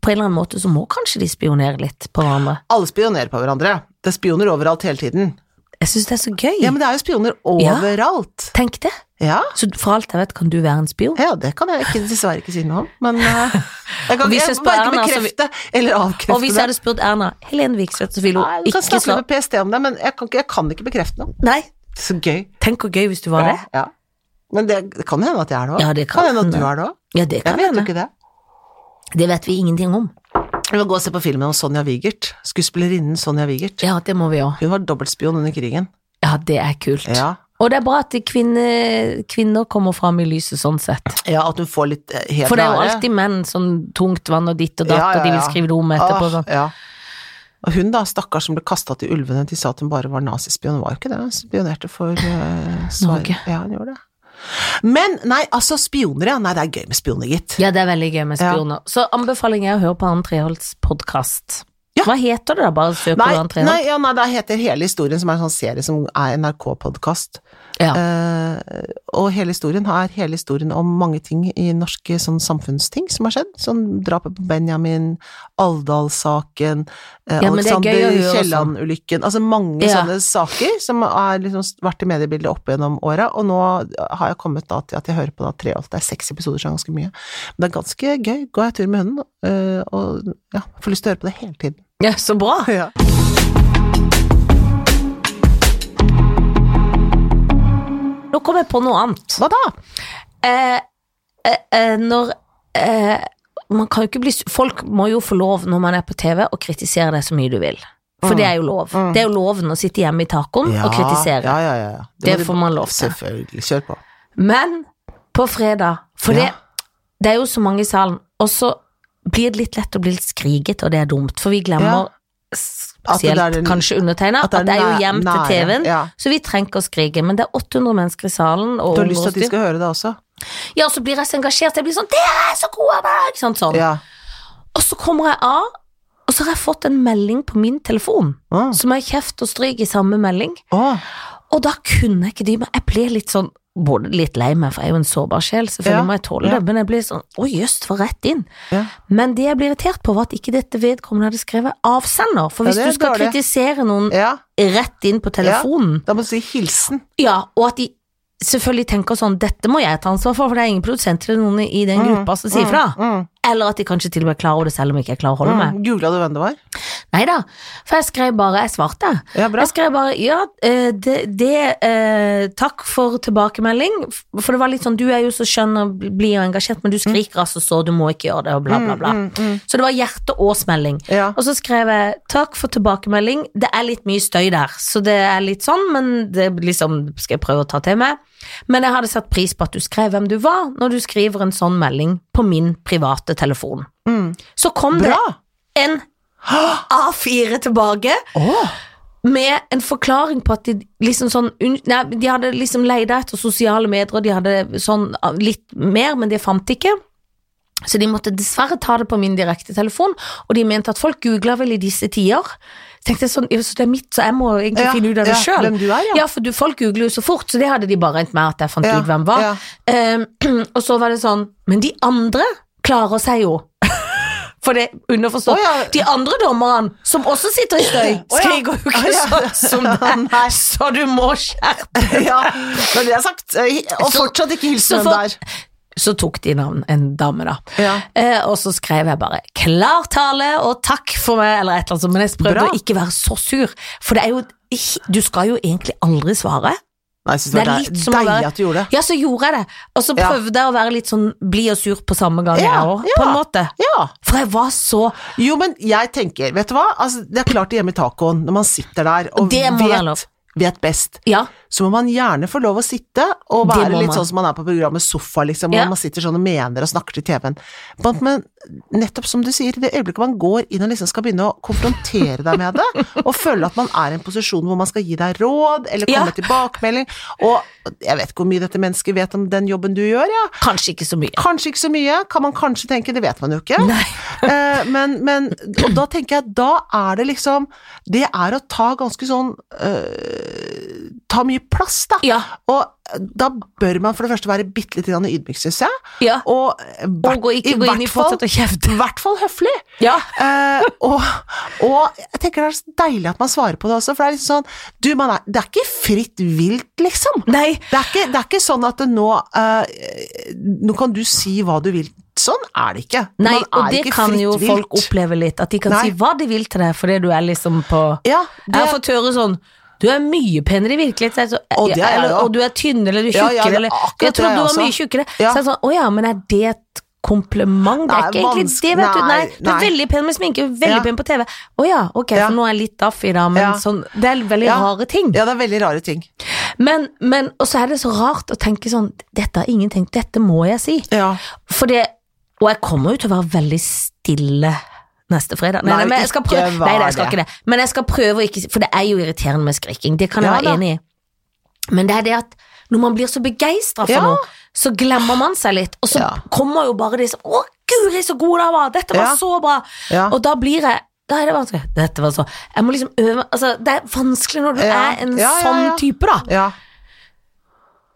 Speaker 2: På en eller annen måte så må kanskje de spionere litt på hverandre.
Speaker 1: Alle spionerer på hverandre. Det er spioner overalt hele tiden.
Speaker 2: Jeg syns det er så gøy.
Speaker 1: Ja, men det er jo spioner
Speaker 2: Ja.
Speaker 1: overalt.
Speaker 2: Tenk det.
Speaker 1: Ja.
Speaker 2: Så for alt jeg vet, kan du være en spion.
Speaker 1: ja, det kan jeg ikke, dessverre ikke si noe om, men eh, jeg
Speaker 2: Og
Speaker 1: kan
Speaker 2: hvis
Speaker 1: jeg
Speaker 2: jeg spør
Speaker 1: bare ikke
Speaker 2: Erna, så vi-
Speaker 1: bekrefte eller avkrefte
Speaker 2: Og hvis jeg hadde spurt Erna Helen Vikstvedt, så ville
Speaker 1: Nei,
Speaker 2: hun
Speaker 1: du kan
Speaker 2: ikke
Speaker 1: snakke
Speaker 2: svare.
Speaker 1: med PST om det, men jeg kan, ikke, jeg kan ikke bekrefte noe.
Speaker 2: Nei,
Speaker 1: Så gøy.
Speaker 2: tenk hvor gøy hvis du var det.
Speaker 1: Ja. Men det, det kan hende at jeg er det òg.
Speaker 2: Ja, det kan
Speaker 1: hende at du
Speaker 2: hende.
Speaker 1: er det òg.
Speaker 2: Ja, det
Speaker 1: Jeg
Speaker 2: kan
Speaker 1: vet jo
Speaker 2: hende.
Speaker 1: ikke det.
Speaker 2: Det vet vi ingenting om.
Speaker 1: Vi må gå og se på filmen om Sonja Wigert. Skuespillerinnen Sonja Wigert.
Speaker 2: Ja, det må vi òg.
Speaker 1: Hun var dobbeltspion under krigen.
Speaker 2: Ja, det er kult.
Speaker 1: Ja.
Speaker 2: Og det er bra at kvinne, kvinner kommer fram i lyset sånn sett.
Speaker 1: ja, at hun får litt eh, heder
Speaker 2: For det er jo
Speaker 1: og ære.
Speaker 2: alltid menn sånn tungt vann og ditt og datt,
Speaker 1: Ja, ja,
Speaker 2: og de vil
Speaker 1: ja.
Speaker 2: skrive det om etterpå.
Speaker 1: Åh,
Speaker 2: Sånn.
Speaker 1: Ja. Og hun da, stakkars som ble kasta til ulvene, de sa at hun bare var nazispion. Hun var jo ikke det, hun spionerte for eh, Sverige.
Speaker 2: Norge.
Speaker 1: Ja, hun gjorde det. Men nei, altså spioner, ja. Nei, det er gøy med spioner, gitt.
Speaker 2: Ja, det er veldig gøy med
Speaker 1: Ja.
Speaker 2: spioner. Så anbefaling er å høre på Arne Treholts podkast.
Speaker 1: Ja.
Speaker 2: Hva heter det da? Bare søk på
Speaker 1: Nei,
Speaker 2: Arne
Speaker 1: nei,
Speaker 2: Treholt.
Speaker 1: ja, nei, det heter Hele historien, som er en sånn serie som er NRK-podkast.
Speaker 2: Ja.
Speaker 1: Eh, og hele historien er hele historien om mange ting i norske sånn samfunnsting som har skjedd. Sånn drapet på Benjamin, Alvdal-saken, eh,
Speaker 2: Ja, men det er gøy å
Speaker 1: Alexander
Speaker 2: høre
Speaker 1: Kielland-ulykken Altså mange
Speaker 2: Ja.
Speaker 1: sånne saker som har liksom vært i mediebildet opp gjennom åra. Og nå har jeg kommet da til at jeg hører på da Treholt. Det er seks episoder, så det er ganske mye. Men det er ganske gøy. Går jeg tur med hunden, eh, og ja, får lyst til å høre på det hele tiden.
Speaker 2: ja, så bra!
Speaker 1: Ja.
Speaker 2: Nå kom jeg på noe annet.
Speaker 1: Hva da?
Speaker 2: Eh, eh, eh, når eh, man kan jo ikke bli, su- Folk må jo få lov, når man er på TV, å kritisere deg så mye du vil. For det er jo lov. Det er jo loven å sitte hjemme i tacoen og kritisere.
Speaker 1: Mm. Ja, ja, ja. ja.
Speaker 2: Det
Speaker 1: må du-
Speaker 2: får man lov til.
Speaker 1: Selvfølgelig. Kjør på.
Speaker 2: Men på fredag For
Speaker 1: Ja.
Speaker 2: det, det er jo så mange i salen, og så blir det litt lett å bli litt skriget, og det er dumt, for vi glemmer
Speaker 1: Ja. At det
Speaker 2: spesielt
Speaker 1: er den-
Speaker 2: kanskje undertegna
Speaker 1: at
Speaker 2: at,
Speaker 1: det er
Speaker 2: det er jo
Speaker 1: næ-
Speaker 2: hjem til
Speaker 1: nære,
Speaker 2: TV-en,
Speaker 1: ja.
Speaker 2: så vi trenger ikke å skrike. Men det er 800 mennesker i salen, og
Speaker 1: Du har
Speaker 2: unger
Speaker 1: lyst til
Speaker 2: og
Speaker 1: at de
Speaker 2: styr.
Speaker 1: skal høre det også?
Speaker 2: Ja, og så blir jeg så engasjert, jeg blir sånn 'Dere er så gode!' da!» Ikke sant, sånn.
Speaker 1: Ja.
Speaker 2: Og så kommer jeg av, og så har jeg fått en melding på min telefon,
Speaker 1: Å,
Speaker 2: som er kjeft og stryk i samme melding.
Speaker 1: å,
Speaker 2: Og da kunne jeg ikke dy meg. Jeg ble litt sånn både litt lei meg, for jeg er jo en sårbar sjel,
Speaker 1: Ja,
Speaker 2: selvfølgelig må jeg tåle
Speaker 1: ja.
Speaker 2: det, men jeg ble sånn Å, jøss, det var rett inn.
Speaker 1: ja.
Speaker 2: Men det jeg ble irritert på, var at ikke dette vedkommende hadde skrevet avsender. For
Speaker 1: Ja,
Speaker 2: hvis
Speaker 1: det er
Speaker 2: du skal
Speaker 1: dårlig.
Speaker 2: kritisere noen
Speaker 1: ja.
Speaker 2: rett inn på telefonen,
Speaker 1: Da må du si hilsen.
Speaker 2: ja. og at de selvfølgelig tenker sånn Dette må jeg ta ansvar for, for det er ingen produsenter eller noen i den gruppa som sier fra.
Speaker 1: Mm.
Speaker 2: Eller at de kanskje til og med klarer det, selv om ikke jeg klarer å holde
Speaker 1: Mm.
Speaker 2: meg.
Speaker 1: Googla du hvem det var?
Speaker 2: Nei da, for jeg skrev bare Jeg svarte.
Speaker 1: Ja, bra.
Speaker 2: Jeg skrev bare ja, eh, det, det eh, Takk for tilbakemelding. F- For det var litt sånn, du er jo så skjønn og bl- blid og engasjert, men du skriker altså så, du må ikke gjøre det, og bla, bla, bla.
Speaker 1: Mm, mm, mm.
Speaker 2: Så det var hjerte og smelling.
Speaker 1: Ja.
Speaker 2: Og så skrev jeg takk for tilbakemelding. Det er litt mye støy der, så det er litt sånn, men det liksom skal jeg prøve å ta til meg. Men jeg hadde satt pris på at du skrev hvem du var, når du skriver en sånn melding på min private telefon.
Speaker 1: Mm.
Speaker 2: Så kom
Speaker 1: Bra!
Speaker 2: det en
Speaker 1: Åh,
Speaker 2: A4 tilbake med en forklaring på at de liksom sånn unn- Nei, de hadde liksom leida etter sosiale medier, og de hadde sånn ah, litt mer, men det fant de ikke. Så de måtte dessverre ta det på min direktetelefon, og de mente at folk googla vel i disse tider. Så tenkte jeg sånn, ja, så det er mitt, så jeg må egentlig
Speaker 1: Ja,
Speaker 2: finne ut av det
Speaker 1: ja,
Speaker 2: sjøl.
Speaker 1: hvem du er, ja.
Speaker 2: for du, folk googler jo så fort, så det hadde de bare regnet med at jeg fant
Speaker 1: Ja,
Speaker 2: ut hvem var.
Speaker 1: ja.
Speaker 2: Eh, og så var det sånn, men de andre klarer seg jo. For det er underforstått.
Speaker 1: Å, ja.
Speaker 2: De andre dommerne, som også sitter i støy,
Speaker 1: Å, ja.
Speaker 2: skriker jo ikke
Speaker 1: Å, ja.
Speaker 2: sånn som deg,
Speaker 1: Nei.
Speaker 2: så du må skjerpe
Speaker 1: ja, når det er sagt. eh, Og
Speaker 2: Så-
Speaker 1: fortsatt ikke hilsen
Speaker 2: så
Speaker 1: den
Speaker 2: for-
Speaker 1: der.
Speaker 2: Så tok de navn en dame, da.
Speaker 1: Ja.
Speaker 2: Eh, og så skrev jeg bare 'klar tale og takk for meg', eller et eller annet sånt. Men jeg prøvde
Speaker 1: Bra.
Speaker 2: å ikke være så sur, for det er jo Du skal jo egentlig aldri svare.
Speaker 1: Nei, jeg synes det
Speaker 2: Det er
Speaker 1: var
Speaker 2: litt som å
Speaker 1: deilig
Speaker 2: være-
Speaker 1: at du gjorde det.
Speaker 2: Ja, så gjorde jeg det. Og så
Speaker 1: Ja.
Speaker 2: prøvde jeg å være litt sånn blid og sur på samme gang,
Speaker 1: Ja,
Speaker 2: jeg òg,
Speaker 1: ja.
Speaker 2: på en måte.
Speaker 1: Ja.
Speaker 2: For jeg var så
Speaker 1: Jo, men jeg tenker, vet du hva? Altså, det er klart hjemme i tacoen, når man sitter der og
Speaker 2: Det må være
Speaker 1: vet,
Speaker 2: lov.
Speaker 1: vet best,
Speaker 2: Ja.
Speaker 1: så må man gjerne få lov å sitte og
Speaker 2: Det
Speaker 1: være
Speaker 2: må
Speaker 1: litt
Speaker 2: man.
Speaker 1: sånn som man er på programmet Sofa, liksom, hvor
Speaker 2: Ja.
Speaker 1: man sitter sånn og mener og snakker til TV-en. Men- Men nettopp som du sier, i det øyeblikket man går inn og liksom skal begynne å konfrontere deg med det, og føle at man er i en posisjon hvor man skal gi deg råd, eller
Speaker 2: Ja.
Speaker 1: komme tilbakemelding, og jeg vet ikke hvor mye dette mennesket vet om den jobben du gjør, ja.
Speaker 2: Kanskje ikke så mye.
Speaker 1: Kanskje ikke så mye, kan man kanskje tenke, det vet man jo ikke.
Speaker 2: Nei.
Speaker 1: Eh, men, men Og da tenker jeg, da er det liksom Det er å ta ganske sånn eh, Ta mye plass, da.
Speaker 2: Ja.
Speaker 1: Og eh, da bør man for det første være bitte litt grann ydmyk, syns jeg.
Speaker 2: ja.
Speaker 1: Og, eh, hvert-
Speaker 2: Og gå- ikke
Speaker 1: i
Speaker 2: gå inn
Speaker 1: hvert
Speaker 2: i
Speaker 1: fall-
Speaker 2: fortsatt og kjefte.
Speaker 1: I hvert fall høflig.
Speaker 2: Ja.
Speaker 1: Eh, og, og jeg tenker det er så deilig at man svarer på det også, for det er litt sånn Du, man er Det er ikke fritt vilt, liksom.
Speaker 2: Nei.
Speaker 1: Det er ikke, det er ikke sånn at det nå eh, Nå kan du si hva du vil. Sånn er det ikke.
Speaker 2: Nei,
Speaker 1: Man er
Speaker 2: og det
Speaker 1: ikke
Speaker 2: kan
Speaker 1: fritt
Speaker 2: jo
Speaker 1: vilt.
Speaker 2: folk oppleve litt. At de kan
Speaker 1: Nei.
Speaker 2: si hva de vil til deg, fordi du er liksom på
Speaker 1: Ja,
Speaker 2: Jeg har fått høre sånn Du er mye penere i virkeligheten. Så- eh,
Speaker 1: Og det er jeg
Speaker 2: eller,
Speaker 1: også.
Speaker 2: og du er tynn, eller du er
Speaker 1: Ja, ja,
Speaker 2: tjukkere,
Speaker 1: det er
Speaker 2: eller
Speaker 1: akkurat
Speaker 2: Jeg
Speaker 1: det
Speaker 2: trodde du var
Speaker 1: jeg
Speaker 2: mye
Speaker 1: også.
Speaker 2: tjukkere.
Speaker 1: Ja.
Speaker 2: Så jeg sånn Å ja, men er det et kompliment? Det er
Speaker 1: Nei,
Speaker 2: ikke egentlig
Speaker 1: vanskelig.
Speaker 2: det, vet du. Nei,
Speaker 1: Nei,
Speaker 2: du er
Speaker 1: nei.
Speaker 2: veldig pen med sminke, veldig
Speaker 1: Ja.
Speaker 2: pen på TV. Å ja, ok,
Speaker 1: Ja.
Speaker 2: for nå er jeg litt daff i dag, men
Speaker 1: Ja.
Speaker 2: sånn Det er veldig
Speaker 1: Ja.
Speaker 2: rare ting.
Speaker 1: ja, det er veldig rare ting.
Speaker 2: Men, men Og så er det så rart å tenke sånn Dette har ingen tenkt, dette må jeg si.
Speaker 1: Ja.
Speaker 2: For det, og jeg kommer jo til å være veldig stille neste fredag. Nei,
Speaker 1: Nei,
Speaker 2: nei, men jeg skal
Speaker 1: ikke
Speaker 2: prøve,
Speaker 1: vær
Speaker 2: nei, nei, jeg skal
Speaker 1: det.
Speaker 2: ikke det. Men jeg skal prøve å ikke si- For det er jo irriterende med skriking, det kan jeg
Speaker 1: Ja da.
Speaker 2: være enig i. Men det er det at når man blir så begeistra for
Speaker 1: Ja.
Speaker 2: noe, så glemmer man seg litt, og så
Speaker 1: Ja.
Speaker 2: kommer jo bare disse Å, guri, så god den var! Dette var
Speaker 1: Ja.
Speaker 2: så bra!
Speaker 1: Ja.
Speaker 2: Og da blir jeg da er det vanskelig. Dette var så Jeg må liksom øve Altså, det er vanskelig når du
Speaker 1: Ja.
Speaker 2: er en
Speaker 1: Ja, ja,
Speaker 2: sånn
Speaker 1: ja.
Speaker 2: type, da.
Speaker 1: ja.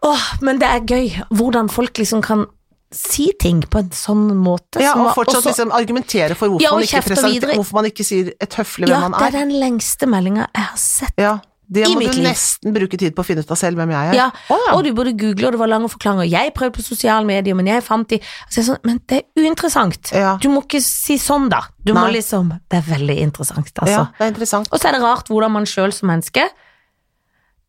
Speaker 2: Åh, men det er gøy hvordan folk liksom kan si ting på en sånn måte.
Speaker 1: ja
Speaker 2: som
Speaker 1: og
Speaker 2: var-
Speaker 1: fortsatt
Speaker 2: også-
Speaker 1: liksom argumentere for hvorfor,
Speaker 2: Ja, og
Speaker 1: man, ikke
Speaker 2: kjefte
Speaker 1: presenter-
Speaker 2: videre.
Speaker 1: hvorfor man ikke sier et høflig
Speaker 2: Ja,
Speaker 1: hvem man
Speaker 2: det er
Speaker 1: er.
Speaker 2: den lengste meldinga jeg har sett.
Speaker 1: Ja, det
Speaker 2: I
Speaker 1: må
Speaker 2: mitt
Speaker 1: du
Speaker 2: liv.
Speaker 1: nesten bruke tid på å finne ut av selv hvem jeg er.
Speaker 2: Ja,
Speaker 1: Å, ja.
Speaker 2: Og du burde google, og det var lange forklaringer. Jeg prøvde på sosiale medier, men jeg fant de Så jeg sånn, Men det er uinteressant.
Speaker 1: Ja.
Speaker 2: Du må ikke si sånn, da. Du må
Speaker 1: Nei.
Speaker 2: liksom Det er veldig interessant, altså.
Speaker 1: ja, det er interessant.
Speaker 2: Og så er det rart hvordan man sjøl som menneske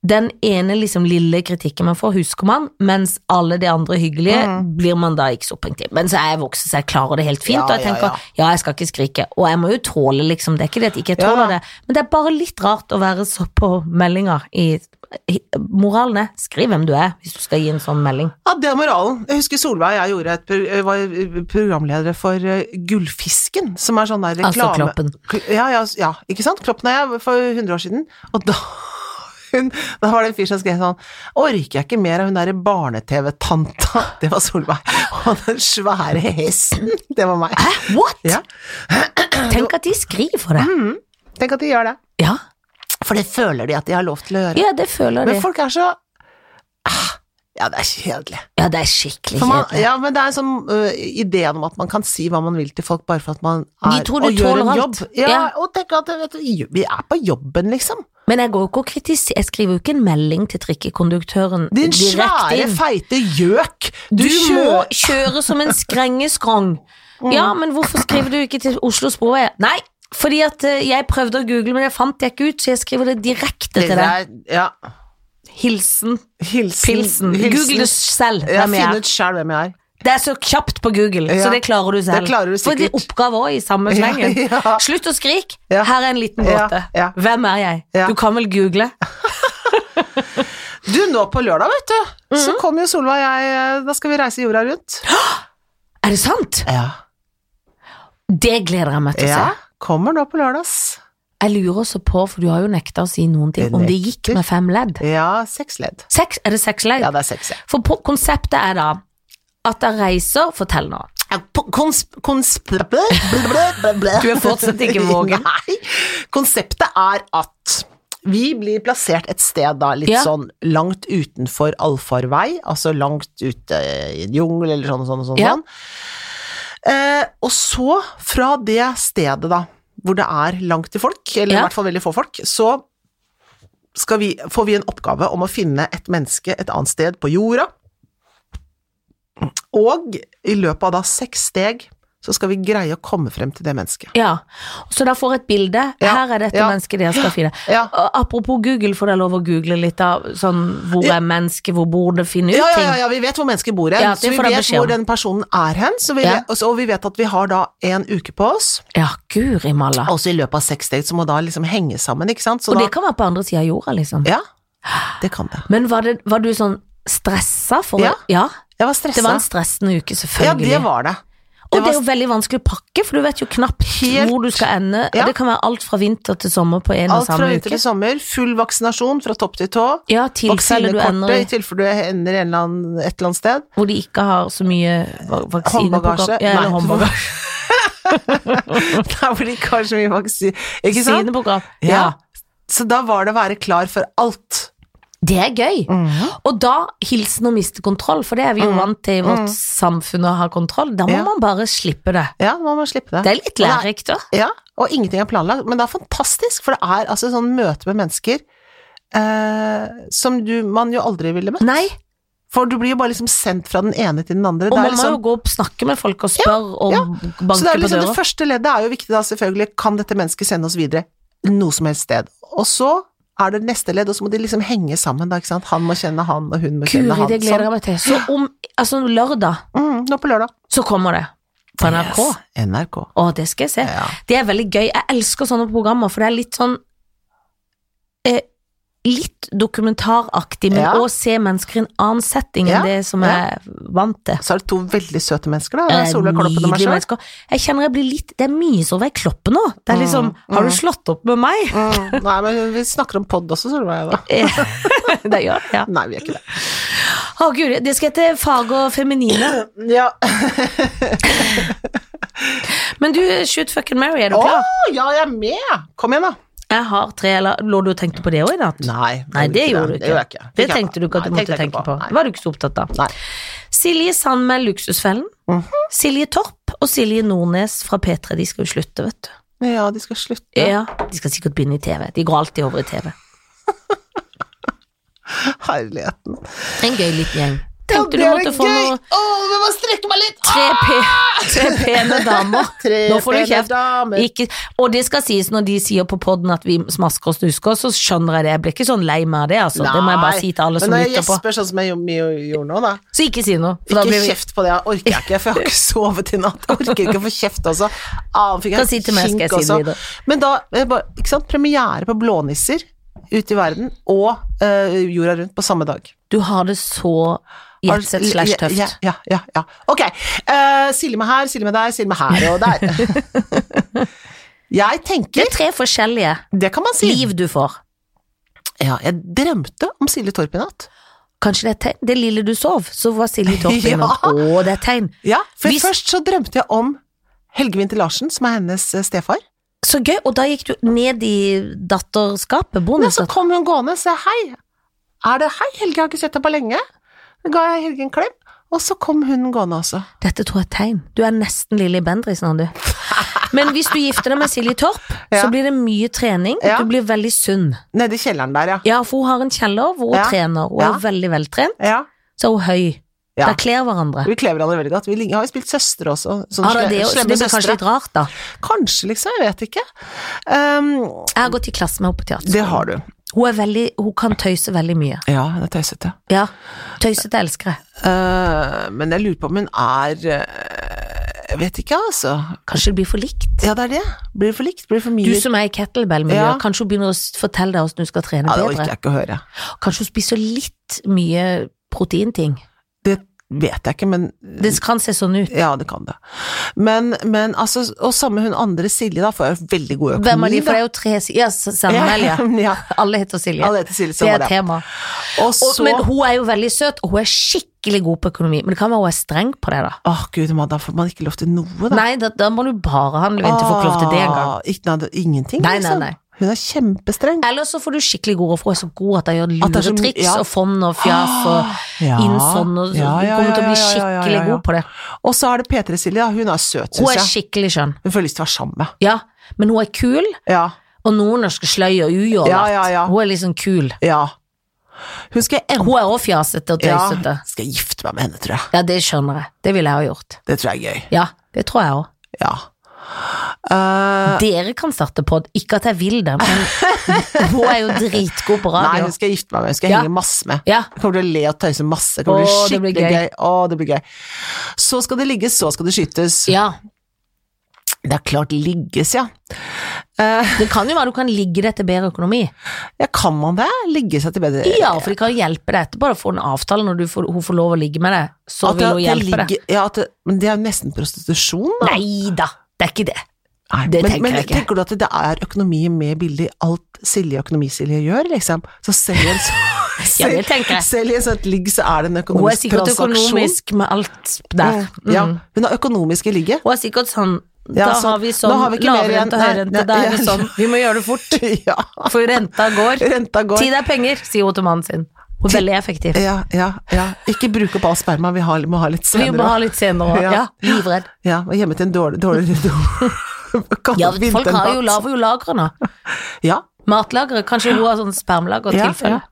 Speaker 2: den ene liksom lille kritikken man får, husker man, mens alle de andre hyggelige blir man da ikke så opphengt i. Men så er jeg voksen, så jeg klarer det helt fint,
Speaker 1: Mm. Ja,
Speaker 2: og jeg
Speaker 1: ja,
Speaker 2: tenker ja, jeg skal ikke skrike, og jeg må jo tåle liksom, det er ikke det at ikke jeg
Speaker 1: Ja, da.
Speaker 2: tåler det, men det er bare litt rart å være så på meldinger i, i Moralen er, skriv hvem du er, hvis du skal gi en sånn melding.
Speaker 1: Ja, det er moralen. Jeg husker Solveig og jeg gjorde et, pro- var eh, programledere for eh, Gullfisken, som er sånn der
Speaker 2: Altså
Speaker 1: reklame...
Speaker 2: Kloppen.
Speaker 1: Kl- Ja, ja, ja, ikke sant? Kloppen og jeg for 100 år siden, og da hun, da var det en fyr som skrev sånn Orker jeg ikke mer av hun derre barne-TV-tanta? Det var Solveig. Og den svære hesten, det var meg.
Speaker 2: What?!
Speaker 1: Ja.
Speaker 2: Tenk at de skriver
Speaker 1: Mm.
Speaker 2: det.
Speaker 1: Tenk at de gjør det.
Speaker 2: Ja.
Speaker 1: For det føler de at de har lov til å gjøre.
Speaker 2: ja, det føler de.
Speaker 1: Men folk er så Ah, Ja, det er kjedelig.
Speaker 2: Ja, det er skikkelig
Speaker 1: For man,
Speaker 2: kjedelig.
Speaker 1: ja, men det er en sånn øh, ideen om at man kan si hva man vil til folk bare for at man er
Speaker 2: De tror du
Speaker 1: og gjør
Speaker 2: tåler
Speaker 1: en
Speaker 2: alt.
Speaker 1: jobb. Ja,
Speaker 2: Ja.
Speaker 1: og tenk at vet du, vi er på jobben, liksom.
Speaker 2: Men jeg, går jo ikke og kritiser, jeg skriver jo ikke en melding til trikkekonduktøren
Speaker 1: Din
Speaker 2: direkte
Speaker 1: svære,
Speaker 2: inn.
Speaker 1: feite gjøk!
Speaker 2: Du, må
Speaker 1: kjører
Speaker 2: kjøre som en skrengeskrong.
Speaker 1: Mm.
Speaker 2: Ja, men hvorfor skriver du ikke til Oslo Sporvei? Nei, fordi at eh, jeg prøvde å google, men det fant jeg ikke ut, så jeg skriver det direkte til deg.
Speaker 1: Ja.
Speaker 2: Hilsen
Speaker 1: Hilsen,
Speaker 2: Pilsen.
Speaker 1: hilsen.
Speaker 2: Google det selv,
Speaker 1: Ja,
Speaker 2: hvem
Speaker 1: finn
Speaker 2: jeg er.
Speaker 1: ut sjæl hvem jeg er.
Speaker 2: Det er så kjapt på Google,
Speaker 1: Ja,
Speaker 2: så det klarer du selv.
Speaker 1: det klarer du
Speaker 2: For det er
Speaker 1: sikkert.
Speaker 2: oppgave òg i
Speaker 1: Ja,
Speaker 2: samme slengen.
Speaker 1: ja.
Speaker 2: Slutt å skrike,
Speaker 1: Ja.
Speaker 2: her er en liten
Speaker 1: Ja,
Speaker 2: gåte.
Speaker 1: ja.
Speaker 2: Hvem er jeg?
Speaker 1: Ja.
Speaker 2: Du kan vel google?
Speaker 1: Du, nå på lørdag, vet du,
Speaker 2: Mhm.
Speaker 1: så kommer jo Solveig og jeg eh, Da skal vi reise jorda rundt.
Speaker 2: Er det sant?
Speaker 1: Ja.
Speaker 2: Det gleder jeg meg til å se.
Speaker 1: ja. Kommer nå på lørdag, ass.
Speaker 2: Jeg lurer også på, for du har jo nekta å si noen ting,
Speaker 1: Jeg
Speaker 2: om det gikk
Speaker 1: nekter.
Speaker 2: med fem ledd.
Speaker 1: Ja, seks ledd.
Speaker 2: Seks, er det seks ledd?
Speaker 1: Ja, det er seks, ja.
Speaker 2: For på, konseptet er da at jeg reiser, fortell nå.
Speaker 1: Ja, på- kons- konsp... Du
Speaker 2: Du er fortsatt ikke vågen.
Speaker 1: Nei. Konseptet er at vi blir plassert et sted da, litt
Speaker 2: Ja.
Speaker 1: sånn langt utenfor allfarvei, altså langt ute i en jungel eller sånn og sånn og sånn.
Speaker 2: Ja.
Speaker 1: sånn. Eh, og så, fra det stedet da, hvor det er langt til folk, eller
Speaker 2: Ja.
Speaker 1: i hvert fall veldig få folk, så skal vi, får vi en oppgave om å finne et menneske et annet sted på jorda. Og i løpet av da seks steg, så skal vi greie å komme frem til det mennesket.
Speaker 2: Ja, så da får jeg et bilde.
Speaker 1: Ja,
Speaker 2: Her er dette
Speaker 1: ja.
Speaker 2: mennesket dere skal finne.
Speaker 1: Ja.
Speaker 2: Og Apropos Google, får jeg lov å google litt av sånn hvor
Speaker 1: Ja.
Speaker 2: er mennesket, hvor bor det, finne ut
Speaker 1: Ja, ja, ja,
Speaker 2: ting.
Speaker 1: ja, vi vet hvor mennesker bor hen,
Speaker 2: Ja, det
Speaker 1: så vi
Speaker 2: får dere
Speaker 1: vet
Speaker 2: beskjed om.
Speaker 1: hvor den personen er hen, så vi,
Speaker 2: Ja.
Speaker 1: og så- og vi vet at vi har da en uke på oss,
Speaker 2: Ja, guri malla.
Speaker 1: også i løpet av seks steg, som må da liksom henge sammen, ikke sant? Så
Speaker 2: Og
Speaker 1: da,
Speaker 2: det kan være på andre sida av jorda, liksom.
Speaker 1: Ja, det kan det.
Speaker 2: Men var, det, var du sånn stressa for
Speaker 1: Ja.
Speaker 2: å Ja,
Speaker 1: Jeg var
Speaker 2: det var
Speaker 1: stressa.
Speaker 2: en stressende uke,
Speaker 1: Ja,
Speaker 2: selvfølgelig.
Speaker 1: det var det.
Speaker 2: og det
Speaker 1: var
Speaker 2: er jo veldig vanskelig å pakke, for du vet jo knapt
Speaker 1: Helt-
Speaker 2: hvor du skal ende.
Speaker 1: Ja.
Speaker 2: Det kan være alt fra vinter til sommer på en og
Speaker 1: Alt fra
Speaker 2: samme
Speaker 1: vinter
Speaker 2: uke.
Speaker 1: til sommer, full vaksinasjon fra topp til tå.
Speaker 2: Ja, tilfeller du ender
Speaker 1: Vaksinekortet
Speaker 2: i
Speaker 1: i tilfelle du ender i en eller annen, et eller annet sted.
Speaker 2: hvor de ikke har så mye va- vaksine på
Speaker 1: Håndbagasje.
Speaker 2: kroppen. Ja,
Speaker 1: Nei.
Speaker 2: eller håndbagasje.
Speaker 1: Der hvor de ikke har så mye vaksin... Ikke sant?
Speaker 2: Vaksine på kroppen.
Speaker 1: Ja.
Speaker 2: Ja.
Speaker 1: Så da var det å være klar for alt.
Speaker 2: Det er gøy.
Speaker 1: Mm.
Speaker 2: Og da hilsen å miste kontroll, for det er vi jo vant til i vårt samfunn å ha kontroll. Da må
Speaker 1: Mm. Ja.
Speaker 2: man bare slippe det.
Speaker 1: Ja, nå må man slippe det.
Speaker 2: Det er litt lærerikt, da.
Speaker 1: Ja, og ingenting er planlagt, men det er fantastisk, for det er altså sånn møte med mennesker eh, som du, man jo aldri ville møtt.
Speaker 2: Nei,
Speaker 1: For du blir jo bare liksom sendt fra den ene til den andre.
Speaker 2: og
Speaker 1: Det er
Speaker 2: man må
Speaker 1: liksom-
Speaker 2: jo gå og snakke med folk og spørre og
Speaker 1: ja.
Speaker 2: banke
Speaker 1: Så det er liksom
Speaker 2: på
Speaker 1: det
Speaker 2: døra.
Speaker 1: første leddet er jo viktig da, selvfølgelig. Kan dette mennesket sende oss videre noe som helst sted? Og så er det neste ledd, og så må de liksom henge sammen, da, ikke sant. Han må kjenne han, og hun må kjenne
Speaker 2: Guri,
Speaker 1: han.
Speaker 2: det gleder jeg meg til. Så om altså, lørdag
Speaker 1: Sånn. Mm, nå på lørdag.
Speaker 2: så kommer det på NRK.
Speaker 1: Yes, NRK.
Speaker 2: Å, det skal jeg se.
Speaker 1: Ja.
Speaker 2: Det er veldig gøy. Jeg elsker sånne programmer, for det er litt sånn eh, Litt dokumentaraktig, men
Speaker 1: Ja.
Speaker 2: å se mennesker i en annen setting
Speaker 1: Ja,
Speaker 2: enn det som
Speaker 1: ja.
Speaker 2: jeg er vant til.
Speaker 1: Så er det to veldig søte mennesker, da.
Speaker 2: Eh,
Speaker 1: Solveig Kloppen og meg
Speaker 2: nydelige
Speaker 1: sjøl.
Speaker 2: mennesker. Jeg kjenner jeg blir litt Det er mye Solveig Kloppe nå. Det er liksom Har du slått opp med meg?
Speaker 1: Mm, nei, men vi snakker om pod også, Solveig og jeg, da.
Speaker 2: Eh, det gjør det, ja.
Speaker 1: Nei, vi er ikke det.
Speaker 2: Å guri, det skal hete Fag og feminine.
Speaker 1: Ja.
Speaker 2: Men du, shoot fucking Mary, er du
Speaker 1: Å,
Speaker 2: klar?
Speaker 1: ja, jeg er med! Kom igjen, da.
Speaker 2: Jeg har tre eller Lå du og tenkte på det òg i natt?
Speaker 1: Nei,
Speaker 2: Nei, det gjorde du
Speaker 1: Det gjorde jeg
Speaker 2: ikke.
Speaker 1: ikke.
Speaker 2: Det tenkte du ikke at du
Speaker 1: Nei,
Speaker 2: måtte
Speaker 1: tenkte jeg
Speaker 2: tenke
Speaker 1: ikke
Speaker 2: på.
Speaker 1: Nei.
Speaker 2: Det var du ikke så opptatt av.
Speaker 1: Nei.
Speaker 2: Silje Sand med Luksusfellen.
Speaker 1: Mhm.
Speaker 2: Silje Torp og Silje Nordnes fra P3. De skal jo slutte, vet du.
Speaker 1: Ja, de skal slutte.
Speaker 2: Ja, De skal sikkert begynne i TV. De går alltid over i TV.
Speaker 1: Herligheten.
Speaker 2: En gøy liten gjeng. Tenkte du
Speaker 1: Ja, det er
Speaker 2: måtte få
Speaker 1: gøy.
Speaker 2: noe
Speaker 1: Å, vi må strekke meg litt!
Speaker 2: tre, pe tre pene damer.
Speaker 1: Tre
Speaker 2: Nå får du
Speaker 1: pene
Speaker 2: kjeft.
Speaker 1: damer.
Speaker 2: Ikke, og det skal sies, når de sier på poden at vi smasker og snusker, så skjønner jeg det. Jeg blir ikke sånn lei meg av det, altså. Det må jeg bare si til alle som
Speaker 1: Men når jeg
Speaker 2: lytter på.
Speaker 1: gjesper sånn som jeg jo- mye gjorde nå, da
Speaker 2: Så ikke si noe. For da
Speaker 1: Ikke
Speaker 2: blir vi
Speaker 1: kjeft på det, jeg orker jeg ikke, for jeg har ikke sovet i natt. Jeg orker ikke å få kjeft også. Ah, fikk
Speaker 2: Kan si til meg, skal jeg
Speaker 1: kink
Speaker 2: si det videre.
Speaker 1: Men da, eh, bare- ikke sant, premiere på Blånisser ute i verden, og eh, jorda rundt på samme dag.
Speaker 2: Du har det så
Speaker 1: Har-
Speaker 2: jetset slash tøft.
Speaker 1: Ja, ja, ja. ja. Ok. eh, Silje med her, Silje med der, Silje med her og der. jeg
Speaker 2: Det
Speaker 1: tenker
Speaker 2: er tre forskjellige
Speaker 1: Det kan man si.
Speaker 2: liv du får.
Speaker 1: Ja, jeg drømte om Silje Torp i natt.
Speaker 2: Kanskje det er tegn. Det lille du sov, så var Silje Torp
Speaker 1: Ja.
Speaker 2: innom. Å, det er tegn.
Speaker 1: Ja, for
Speaker 2: Hvis-
Speaker 1: først så drømte jeg om Helge Winther Larsen, som er hennes eh, stefar.
Speaker 2: Så gøy. Og da gikk du ned i datterskapet,
Speaker 1: Men så
Speaker 2: bonusdatter.
Speaker 1: kom hun gående og sa hei. Er det hei, Helge, jeg har ikke sett deg på lenge. Da ga jeg Helge en klem, og så kom hun gående også.
Speaker 2: Dette tror jeg er et tegn. Du er nesten Lilly Bendriss nå, du. Men hvis du gifter deg med Silje Torp,
Speaker 1: Ja.
Speaker 2: så blir det mye trening.
Speaker 1: Ja.
Speaker 2: Du blir veldig sunn.
Speaker 1: Nede i kjelleren der, ja.
Speaker 2: Ja, for hun har en kjeller hvor hun
Speaker 1: Ja.
Speaker 2: trener. Hun
Speaker 1: Ja.
Speaker 2: er veldig veltrent,
Speaker 1: Ja.
Speaker 2: så er hun høy.
Speaker 1: Ja.
Speaker 2: Da kler hverandre.
Speaker 1: Vi klever hverandre veldig godt. Vi ligner- har jo spilt søstre også. Sånne
Speaker 2: Ja, det, er det,
Speaker 1: sle-
Speaker 2: også. så
Speaker 1: slemme
Speaker 2: det blir kanskje
Speaker 1: søstre.
Speaker 2: litt rart, da.
Speaker 1: Kanskje, liksom. Jeg vet ikke. Ehm,
Speaker 2: Jeg har gått i klasse med henne på teater.
Speaker 1: det har du.
Speaker 2: Hun, er veldig, hun kan tøyse veldig mye.
Speaker 1: Ja, hun er tøysete.
Speaker 2: Ja, Tøysete elskere.
Speaker 1: Eh, men jeg lurer på om hun er eh, Jeg vet ikke, altså.
Speaker 2: Kanskje det blir for likt?
Speaker 1: Ja, det er det. Blir det for likt? Blir det for mye?
Speaker 2: Du som er i kettlebell-miljøet,
Speaker 1: Ja.
Speaker 2: kanskje hun begynner å s- fortelle deg hvordan du skal trene
Speaker 1: ja, det orker
Speaker 2: bedre?
Speaker 1: jeg ikke å høre.
Speaker 2: Kanskje hun spiser litt mye proteinting?
Speaker 1: Det vet jeg ikke, men
Speaker 2: Det kan se sånn ut.
Speaker 1: ja, det kan det. Men, men altså, og samme hun andre Silje, da, får jeg veldig god økonomi.
Speaker 2: Hvem av de, for
Speaker 1: da.
Speaker 2: det er jo tre si- Ja, Sandmæl, ja.
Speaker 1: ja.
Speaker 2: Alle heter Silje.
Speaker 1: Alle heter Silje, sånn
Speaker 2: det
Speaker 1: var det.
Speaker 2: er tema.
Speaker 1: Og
Speaker 2: Og,
Speaker 1: så
Speaker 2: men hun er jo veldig søt, og hun er skikkelig god på økonomi. Men det kan være hun er streng på det, da.
Speaker 1: Åh, gud, man, da får man ikke lov til noe, da.
Speaker 2: Nei, da, da må du bare handle inn til folk lov til det engang.
Speaker 1: Ah, Ikke, nei, det- ingenting,
Speaker 2: Nei, nei,
Speaker 1: liksom.
Speaker 2: nei.
Speaker 1: Hun er kjempestreng.
Speaker 2: Eller så får du skikkelig god råd, for hun er så god at hun gjør
Speaker 1: At det er så mye-
Speaker 2: lure triks
Speaker 1: ja. Ah!
Speaker 2: og fond og fjas og
Speaker 1: Ja.
Speaker 2: inn sånn, og
Speaker 1: Ja, ja,
Speaker 2: du kommer til å bli
Speaker 1: ja, ja, ja, ja,
Speaker 2: skikkelig
Speaker 1: ja.
Speaker 2: god på det.
Speaker 1: Og så er det P3 Silje, da. Hun er søt,
Speaker 2: Hun
Speaker 1: syns
Speaker 2: er
Speaker 1: jeg.
Speaker 2: skikkelig skjønn.
Speaker 1: Hun får lyst til å være sammen med.
Speaker 2: Ja, men hun er kul,
Speaker 1: Ja.
Speaker 2: og nordnorsk sløy og ujålete.
Speaker 1: Ja, ja, ja.
Speaker 2: Hun er liksom kul.
Speaker 1: ja. Hun skal jeg endelig
Speaker 2: Hun er også fjasete og tøysete.
Speaker 1: ja, skal jeg gifte meg med henne, tror jeg.
Speaker 2: Ja, det skjønner jeg. Det ville jeg ha gjort.
Speaker 1: Det tror jeg er gøy.
Speaker 2: Ja, det tror jeg òg.
Speaker 1: Ja. Eh,
Speaker 2: Dere kan starte pod, ikke at jeg vil det, men hun er jo dritgod på
Speaker 1: nei,
Speaker 2: radio.
Speaker 1: hun skal jeg gifte meg med. Hun skal jeg
Speaker 2: Ja.
Speaker 1: henge masse med.
Speaker 2: Ja,
Speaker 1: Jeg kommer til å le og tøyse masse. Det kommer til å
Speaker 2: Åh,
Speaker 1: bli
Speaker 2: det blir
Speaker 1: skikkelig gøy. Åh, det blir gøy. Så skal det ligges, så skal det skytes.
Speaker 2: ja.
Speaker 1: Det er klart ligges, ja.
Speaker 2: Det kan jo være du kan ligge deg til bedre økonomi.
Speaker 1: Ja, kan man det? Ligge seg til bedre
Speaker 2: Ja, for de kan jo hjelpe deg etterpå. Da får du en avtale når du får, hun får lov å ligge med deg. Så vil hun hjelpe deg.
Speaker 1: Ja, at det, men det er jo nesten prostitusjon, da.
Speaker 2: Nei da, det er ikke det.
Speaker 1: Nei,
Speaker 2: det
Speaker 1: men,
Speaker 2: tenker
Speaker 1: men,
Speaker 2: jeg ikke.
Speaker 1: Tenker du at det er økonomi med bilde i alt Silje Økonomisilje gjør, liksom? Så selv i en sånn
Speaker 2: Ja, det tenker jeg.
Speaker 1: Selv i en sånn ligg så er det en
Speaker 2: Hun er
Speaker 1: økonomisk
Speaker 2: sikkert
Speaker 1: transaksjon.
Speaker 2: økonomisk med alt der.
Speaker 1: Mm, Ja, hun har økonomisk i ligget.
Speaker 2: Hun er sikkert sånn
Speaker 1: Ja,
Speaker 2: Da
Speaker 1: sånn,
Speaker 2: har vi
Speaker 1: nå
Speaker 2: sånn
Speaker 1: har vi ikke mer igjen.
Speaker 2: lavrente og
Speaker 1: Nei,
Speaker 2: høyrente,
Speaker 1: nei,
Speaker 2: da er det
Speaker 1: ja.
Speaker 2: sånn Vi må gjøre det fort,
Speaker 1: ja,
Speaker 2: for renta går.
Speaker 1: renta går.
Speaker 2: Tid er penger, sier hun til mannen sin. Hun er veldig effektiv.
Speaker 1: Ja, ja, ja. Ikke bruke opp all sperma, vi har, må ha litt
Speaker 2: Vi må
Speaker 1: senere.
Speaker 2: ha litt senere òg.
Speaker 1: Ja.
Speaker 2: Ja, livredd.
Speaker 1: Ja, og hjemme til en dårlig, dårlig, dårlig
Speaker 2: Ja, folk har jo, lager jo lagre nå.
Speaker 1: Ja,
Speaker 2: Matlagre. Kanskje hun har sånn spermlager
Speaker 1: Ja,
Speaker 2: tilfelle.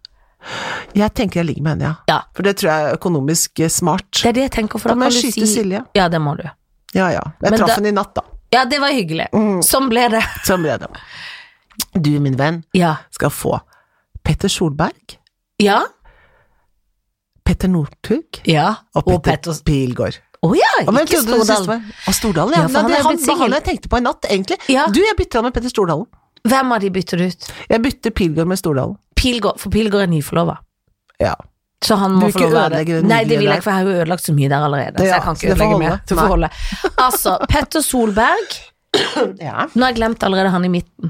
Speaker 1: jeg tenker jeg ligger med henne, ja.
Speaker 2: Ja.
Speaker 1: For det tror jeg er økonomisk eh, smart.
Speaker 2: Det er det jeg tenker, for
Speaker 1: Da
Speaker 2: da
Speaker 1: må jeg
Speaker 2: kan du
Speaker 1: skyte
Speaker 2: si
Speaker 1: Silje.
Speaker 2: Ja, det må du.
Speaker 1: Ja, ja. Jeg
Speaker 2: Men
Speaker 1: traff
Speaker 2: da-
Speaker 1: henne i natt, da.
Speaker 2: Ja, det var hyggelig.
Speaker 1: Mm.
Speaker 2: Sånn ble det.
Speaker 1: Sånn ble det. Du, min venn,
Speaker 2: Ja.
Speaker 1: skal få Petter Solberg,
Speaker 2: Ja.
Speaker 1: Petter Northug
Speaker 2: ja.
Speaker 1: og Petter, Pilgaard.
Speaker 2: Å ja,
Speaker 1: Og hvem
Speaker 2: ikke
Speaker 1: trodde du sist
Speaker 2: Stordalen.
Speaker 1: var? Å, Stordalen, ja.
Speaker 2: Ja, for han
Speaker 1: Nei, det
Speaker 2: er
Speaker 1: han,
Speaker 2: blitt
Speaker 1: det var han
Speaker 2: singel.
Speaker 1: jeg tenkte på i natt, egentlig.
Speaker 2: Ja.
Speaker 1: Du, jeg bytter han med Petter Stordalen.
Speaker 2: Hvem av de bytter du ut?
Speaker 1: Jeg bytter Pilgaard med Stordalen.
Speaker 2: Pilgaard, for Pilgaard er nyforlova.
Speaker 1: Ja.
Speaker 2: Så han
Speaker 1: Du
Speaker 2: må
Speaker 1: vil
Speaker 2: få
Speaker 1: ikke
Speaker 2: lov å være
Speaker 1: ødelegge den
Speaker 2: Nei, det vil
Speaker 1: nydelige
Speaker 2: jeg ikke, for jeg har jo ødelagt så mye der allerede.
Speaker 1: Det-
Speaker 2: så
Speaker 1: ja,
Speaker 2: jeg kan
Speaker 1: så
Speaker 2: ikke
Speaker 1: det får
Speaker 2: ødelegge
Speaker 1: holde.
Speaker 2: mer. Det får holde. Altså, Petter Solberg
Speaker 1: ja.
Speaker 2: Nå har jeg glemt allerede han i midten.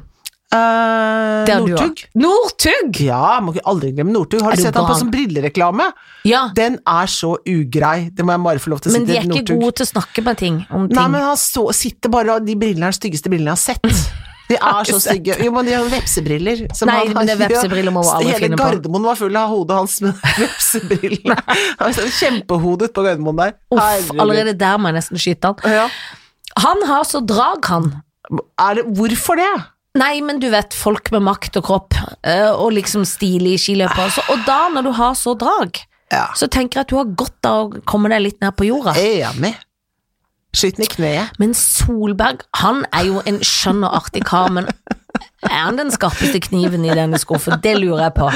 Speaker 1: Eh,
Speaker 2: Det har du
Speaker 1: Northug.
Speaker 2: òg. Northug!
Speaker 1: Ja, må ikke aldri glemme Northug. Har
Speaker 2: Er
Speaker 1: du
Speaker 2: du
Speaker 1: sett han på
Speaker 2: gal?
Speaker 1: sånn brillereklame?
Speaker 2: Ja,
Speaker 1: Den er så ugrei, det må jeg bare få lov til å si
Speaker 2: men de er
Speaker 1: til
Speaker 2: ikke
Speaker 1: Northug.
Speaker 2: gode til å snakke med ting om ting.
Speaker 1: Nei, men han så, sitter bare og De brillene er de styggeste brillene jeg har sett. De er så stygge. Jo, men de har vepsebriller. som
Speaker 2: Nei, men det er vepsebriller må man aldri
Speaker 1: Hele
Speaker 2: finne på.
Speaker 1: Gardermoen var full av hodet hans med vepsebrillene. Han var sånn Kjempehodet på Gardermoen der.
Speaker 2: Uff,
Speaker 1: Herregud.
Speaker 2: allerede der må jeg nesten skyte han.
Speaker 1: Ja.
Speaker 2: Han har så drag, han.
Speaker 1: Er det, hvorfor det?
Speaker 2: Nei, men du vet, folk med makt og kropp, eh, og liksom stilig skiløper og så. Og da, når du har så drag,
Speaker 1: Ja. Eh.
Speaker 2: så tenker jeg at du har godt av å komme deg litt ned på jorda.
Speaker 1: Enig. Skyt den i kneet.
Speaker 2: Men Solberg, han er jo en skjønn og artig kar, men er han den skarpeste kniven i denne skuffen? Det lurer jeg på.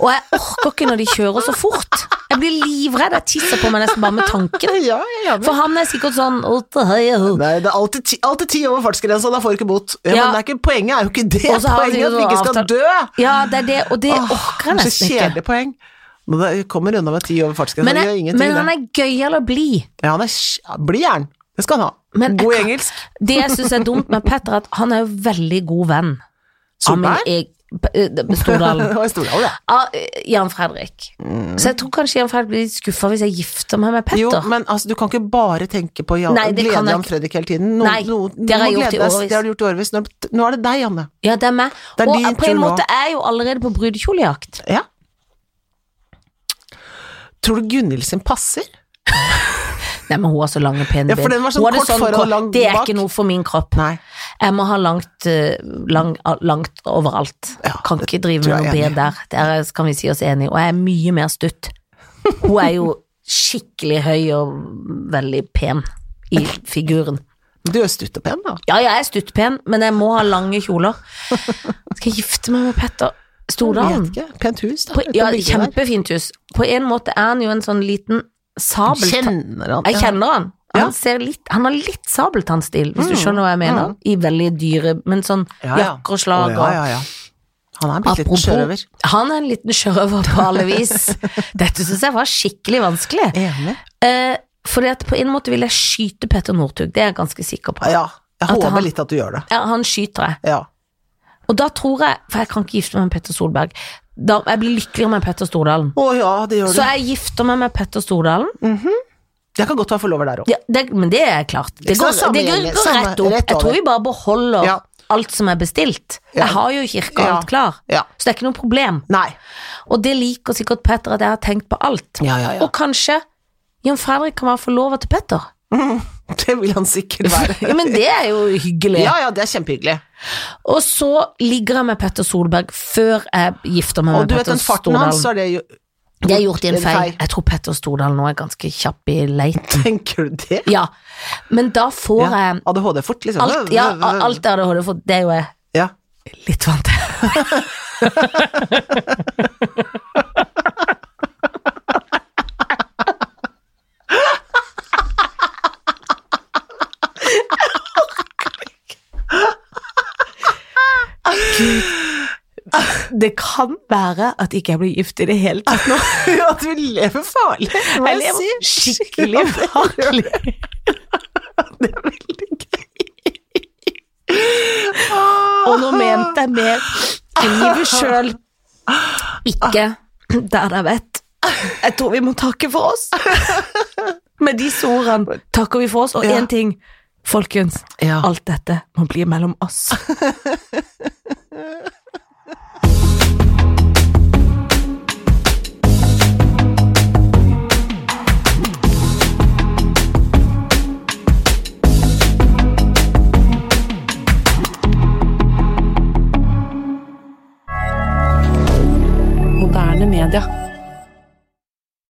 Speaker 2: Og jeg orker ikke når de kjører så fort. Jeg blir livredd, jeg tisser på meg nesten bare med tanken.
Speaker 1: Ja, jeg er enig.
Speaker 2: For han er sikkert sånn «Å, det har jeg hørt».
Speaker 1: Nei, det er alltid ti, alltid ti over fartsgrensa, da får du ikke bot. Ja,
Speaker 2: Ja.
Speaker 1: Men det er ikke, poenget er jo ikke det.
Speaker 2: Og så har
Speaker 1: Poenget er at
Speaker 2: de
Speaker 1: vi
Speaker 2: jo
Speaker 1: ikke skal
Speaker 2: avtalt-
Speaker 1: dø.
Speaker 2: Ja, det er det, og det orker jeg
Speaker 1: Åh, Så
Speaker 2: nesten ikke.
Speaker 1: kjedelig poeng. Nå da- kommer unna med ti over fartsgrensa,
Speaker 2: Men,
Speaker 1: det gjør
Speaker 2: jeg,
Speaker 1: ingenting.
Speaker 2: men
Speaker 1: det.
Speaker 2: han er gøyal og blid.
Speaker 1: Ja, han er sj- blid jern. Det skal han ha.
Speaker 2: Men jeg
Speaker 1: God
Speaker 2: kan-
Speaker 1: engelsk.
Speaker 2: Det jeg syns er dumt med Petter, er at han er jo veldig god venn. av min
Speaker 1: Solberg?
Speaker 2: eg- P- eh, Stordalen.
Speaker 1: Og Stordalen, ja.
Speaker 2: Av eh, Jan Fredrik. Så jeg tror kanskje Jan Fredrik blir litt skuffa hvis jeg gifter meg med
Speaker 1: Mm. Jo,
Speaker 2: Petter.
Speaker 1: men altså, du kan ikke bare tenke på Jan,
Speaker 2: Nei, det
Speaker 1: glede
Speaker 2: kan jeg
Speaker 1: Jan
Speaker 2: ikke.
Speaker 1: Fredrik hele tiden. Nå,
Speaker 2: Nei,
Speaker 1: nå,
Speaker 2: det
Speaker 1: nå
Speaker 2: har jeg gjort
Speaker 1: glede
Speaker 2: i
Speaker 1: deg.
Speaker 2: årevis.
Speaker 1: Det har du gjort i årevis. Nå, nå er det deg, Janne.
Speaker 2: Ja, det er meg.
Speaker 1: Det er
Speaker 2: Og
Speaker 1: din
Speaker 2: jeg- på en
Speaker 1: tur nå.
Speaker 2: måte er jeg jo allerede på brudekjolejakt.
Speaker 1: Ja. Tror du Gunhild sin passer?
Speaker 2: Nei, men hun har så lange, pene
Speaker 1: Ja, for den var sånn
Speaker 2: Hun hadde
Speaker 1: kort foran og
Speaker 2: kropp.
Speaker 1: lang
Speaker 2: Det er
Speaker 1: bak.
Speaker 2: ikke noe for min kropp.
Speaker 1: Nei.
Speaker 2: Jeg må ha langt, eh, lang, ah, langt overalt.
Speaker 1: Ja,
Speaker 2: kan ikke drive
Speaker 1: tror
Speaker 2: med noe
Speaker 1: jeg er
Speaker 2: B der. Der er- kan vi si oss enige. Og jeg er mye mer stutt. Hun er jo skikkelig høy og veldig pen i figuren.
Speaker 1: Du er stutt og pen, da.
Speaker 2: Ja, jeg er stuttpen, men jeg må ha lange kjoler. Skal jeg gifte meg med Petter Stordalen?
Speaker 1: Jeg vet ikke. Pent hus, da.
Speaker 2: På,
Speaker 1: Uten
Speaker 2: ja,
Speaker 1: bygge der.
Speaker 2: kjempefint hus. På en måte er han jo en sånn liten sabeltann.
Speaker 1: Kjenner han
Speaker 2: Jeg kjenner han.
Speaker 1: Ja. Mm.
Speaker 2: Han, ser litt, han har litt sabeltannstil, hvis du skjønner hva jeg mener. I veldig dyre, men sånn
Speaker 1: Ja, ja.
Speaker 2: jakker og slag
Speaker 1: Å, ja, ja, ja. Han er blitt litt
Speaker 2: Apropos-
Speaker 1: sjørøver.
Speaker 2: Han er en liten sjørøver på alle vis. Dette syns jeg var skikkelig vanskelig.
Speaker 1: Enig.
Speaker 2: Eh, fordi at på en måte vil jeg skyte Petter Northug, det er jeg ganske sikker på.
Speaker 1: Ja, jeg
Speaker 2: At
Speaker 1: håper
Speaker 2: han-
Speaker 1: litt at du gjør det.
Speaker 2: Ja, han skyter jeg.
Speaker 1: Ja.
Speaker 2: Og da tror jeg, for jeg kan ikke gifte meg med Petter Solberg, da, jeg blir lykkeligere med Petter Stordalen.
Speaker 1: Å ja, det gjør
Speaker 2: Så
Speaker 1: du.
Speaker 2: jeg gifter meg med Petter Stordalen,
Speaker 1: Jeg kan godt være forlover der òg.
Speaker 2: ja, det, men det er klart. Det
Speaker 1: Så
Speaker 2: går,
Speaker 1: samme
Speaker 2: det går,
Speaker 1: gjengen,
Speaker 2: går
Speaker 1: samme-
Speaker 2: rett opp.
Speaker 1: rett
Speaker 2: Jeg
Speaker 1: over.
Speaker 2: tror vi bare beholder
Speaker 1: Ja.
Speaker 2: alt som er bestilt.
Speaker 1: Ja.
Speaker 2: Jeg har jo kirke og
Speaker 1: Ja.
Speaker 2: alt klar,
Speaker 1: Ja.
Speaker 2: så det er ikke noe problem.
Speaker 1: Nei.
Speaker 2: Og det liker sikkert Petter at jeg har tenkt på alt.
Speaker 1: Ja, ja, ja.
Speaker 2: Og kanskje Jan Fredrik kan være forlover til Petter.
Speaker 1: Det vil han sikkert være.
Speaker 2: ja, men det er jo hyggelig.
Speaker 1: Ja, ja, det er kjempehyggelig.
Speaker 2: Og så ligger jeg med Petter Solberg før jeg gifter meg
Speaker 1: Og
Speaker 2: med
Speaker 1: du vet
Speaker 2: Petter
Speaker 1: den farten
Speaker 2: Stordalen.
Speaker 1: hans, så er det jo
Speaker 2: Jeg har gjort en
Speaker 1: en
Speaker 2: feil. Jeg tror Petter Stordalen nå er ganske kjapp i leit.
Speaker 1: Tenker du det?
Speaker 2: Ja, men da får
Speaker 1: Ja.
Speaker 2: jeg
Speaker 1: ADHD fort, liksom.
Speaker 2: eh, alt, ja, alt er ADHD, for det er jo jeg
Speaker 1: Ja.
Speaker 2: litt vant til. Gud. Det kan være at ikke jeg blir gift i det hele tatt nå.
Speaker 1: Ja, du lever farlig, må
Speaker 2: Jeg
Speaker 1: jeg si.
Speaker 2: lever skikkelig farlig. Og nå mente jeg mer livet sjøl, ikke der jeg vet. Jeg tror vi må takke for oss. Med disse ordene takker vi for oss, og
Speaker 1: Ja.
Speaker 2: én ting, folkens.
Speaker 1: Ja.
Speaker 2: Alt dette må bli mellom oss.
Speaker 3: moderne media.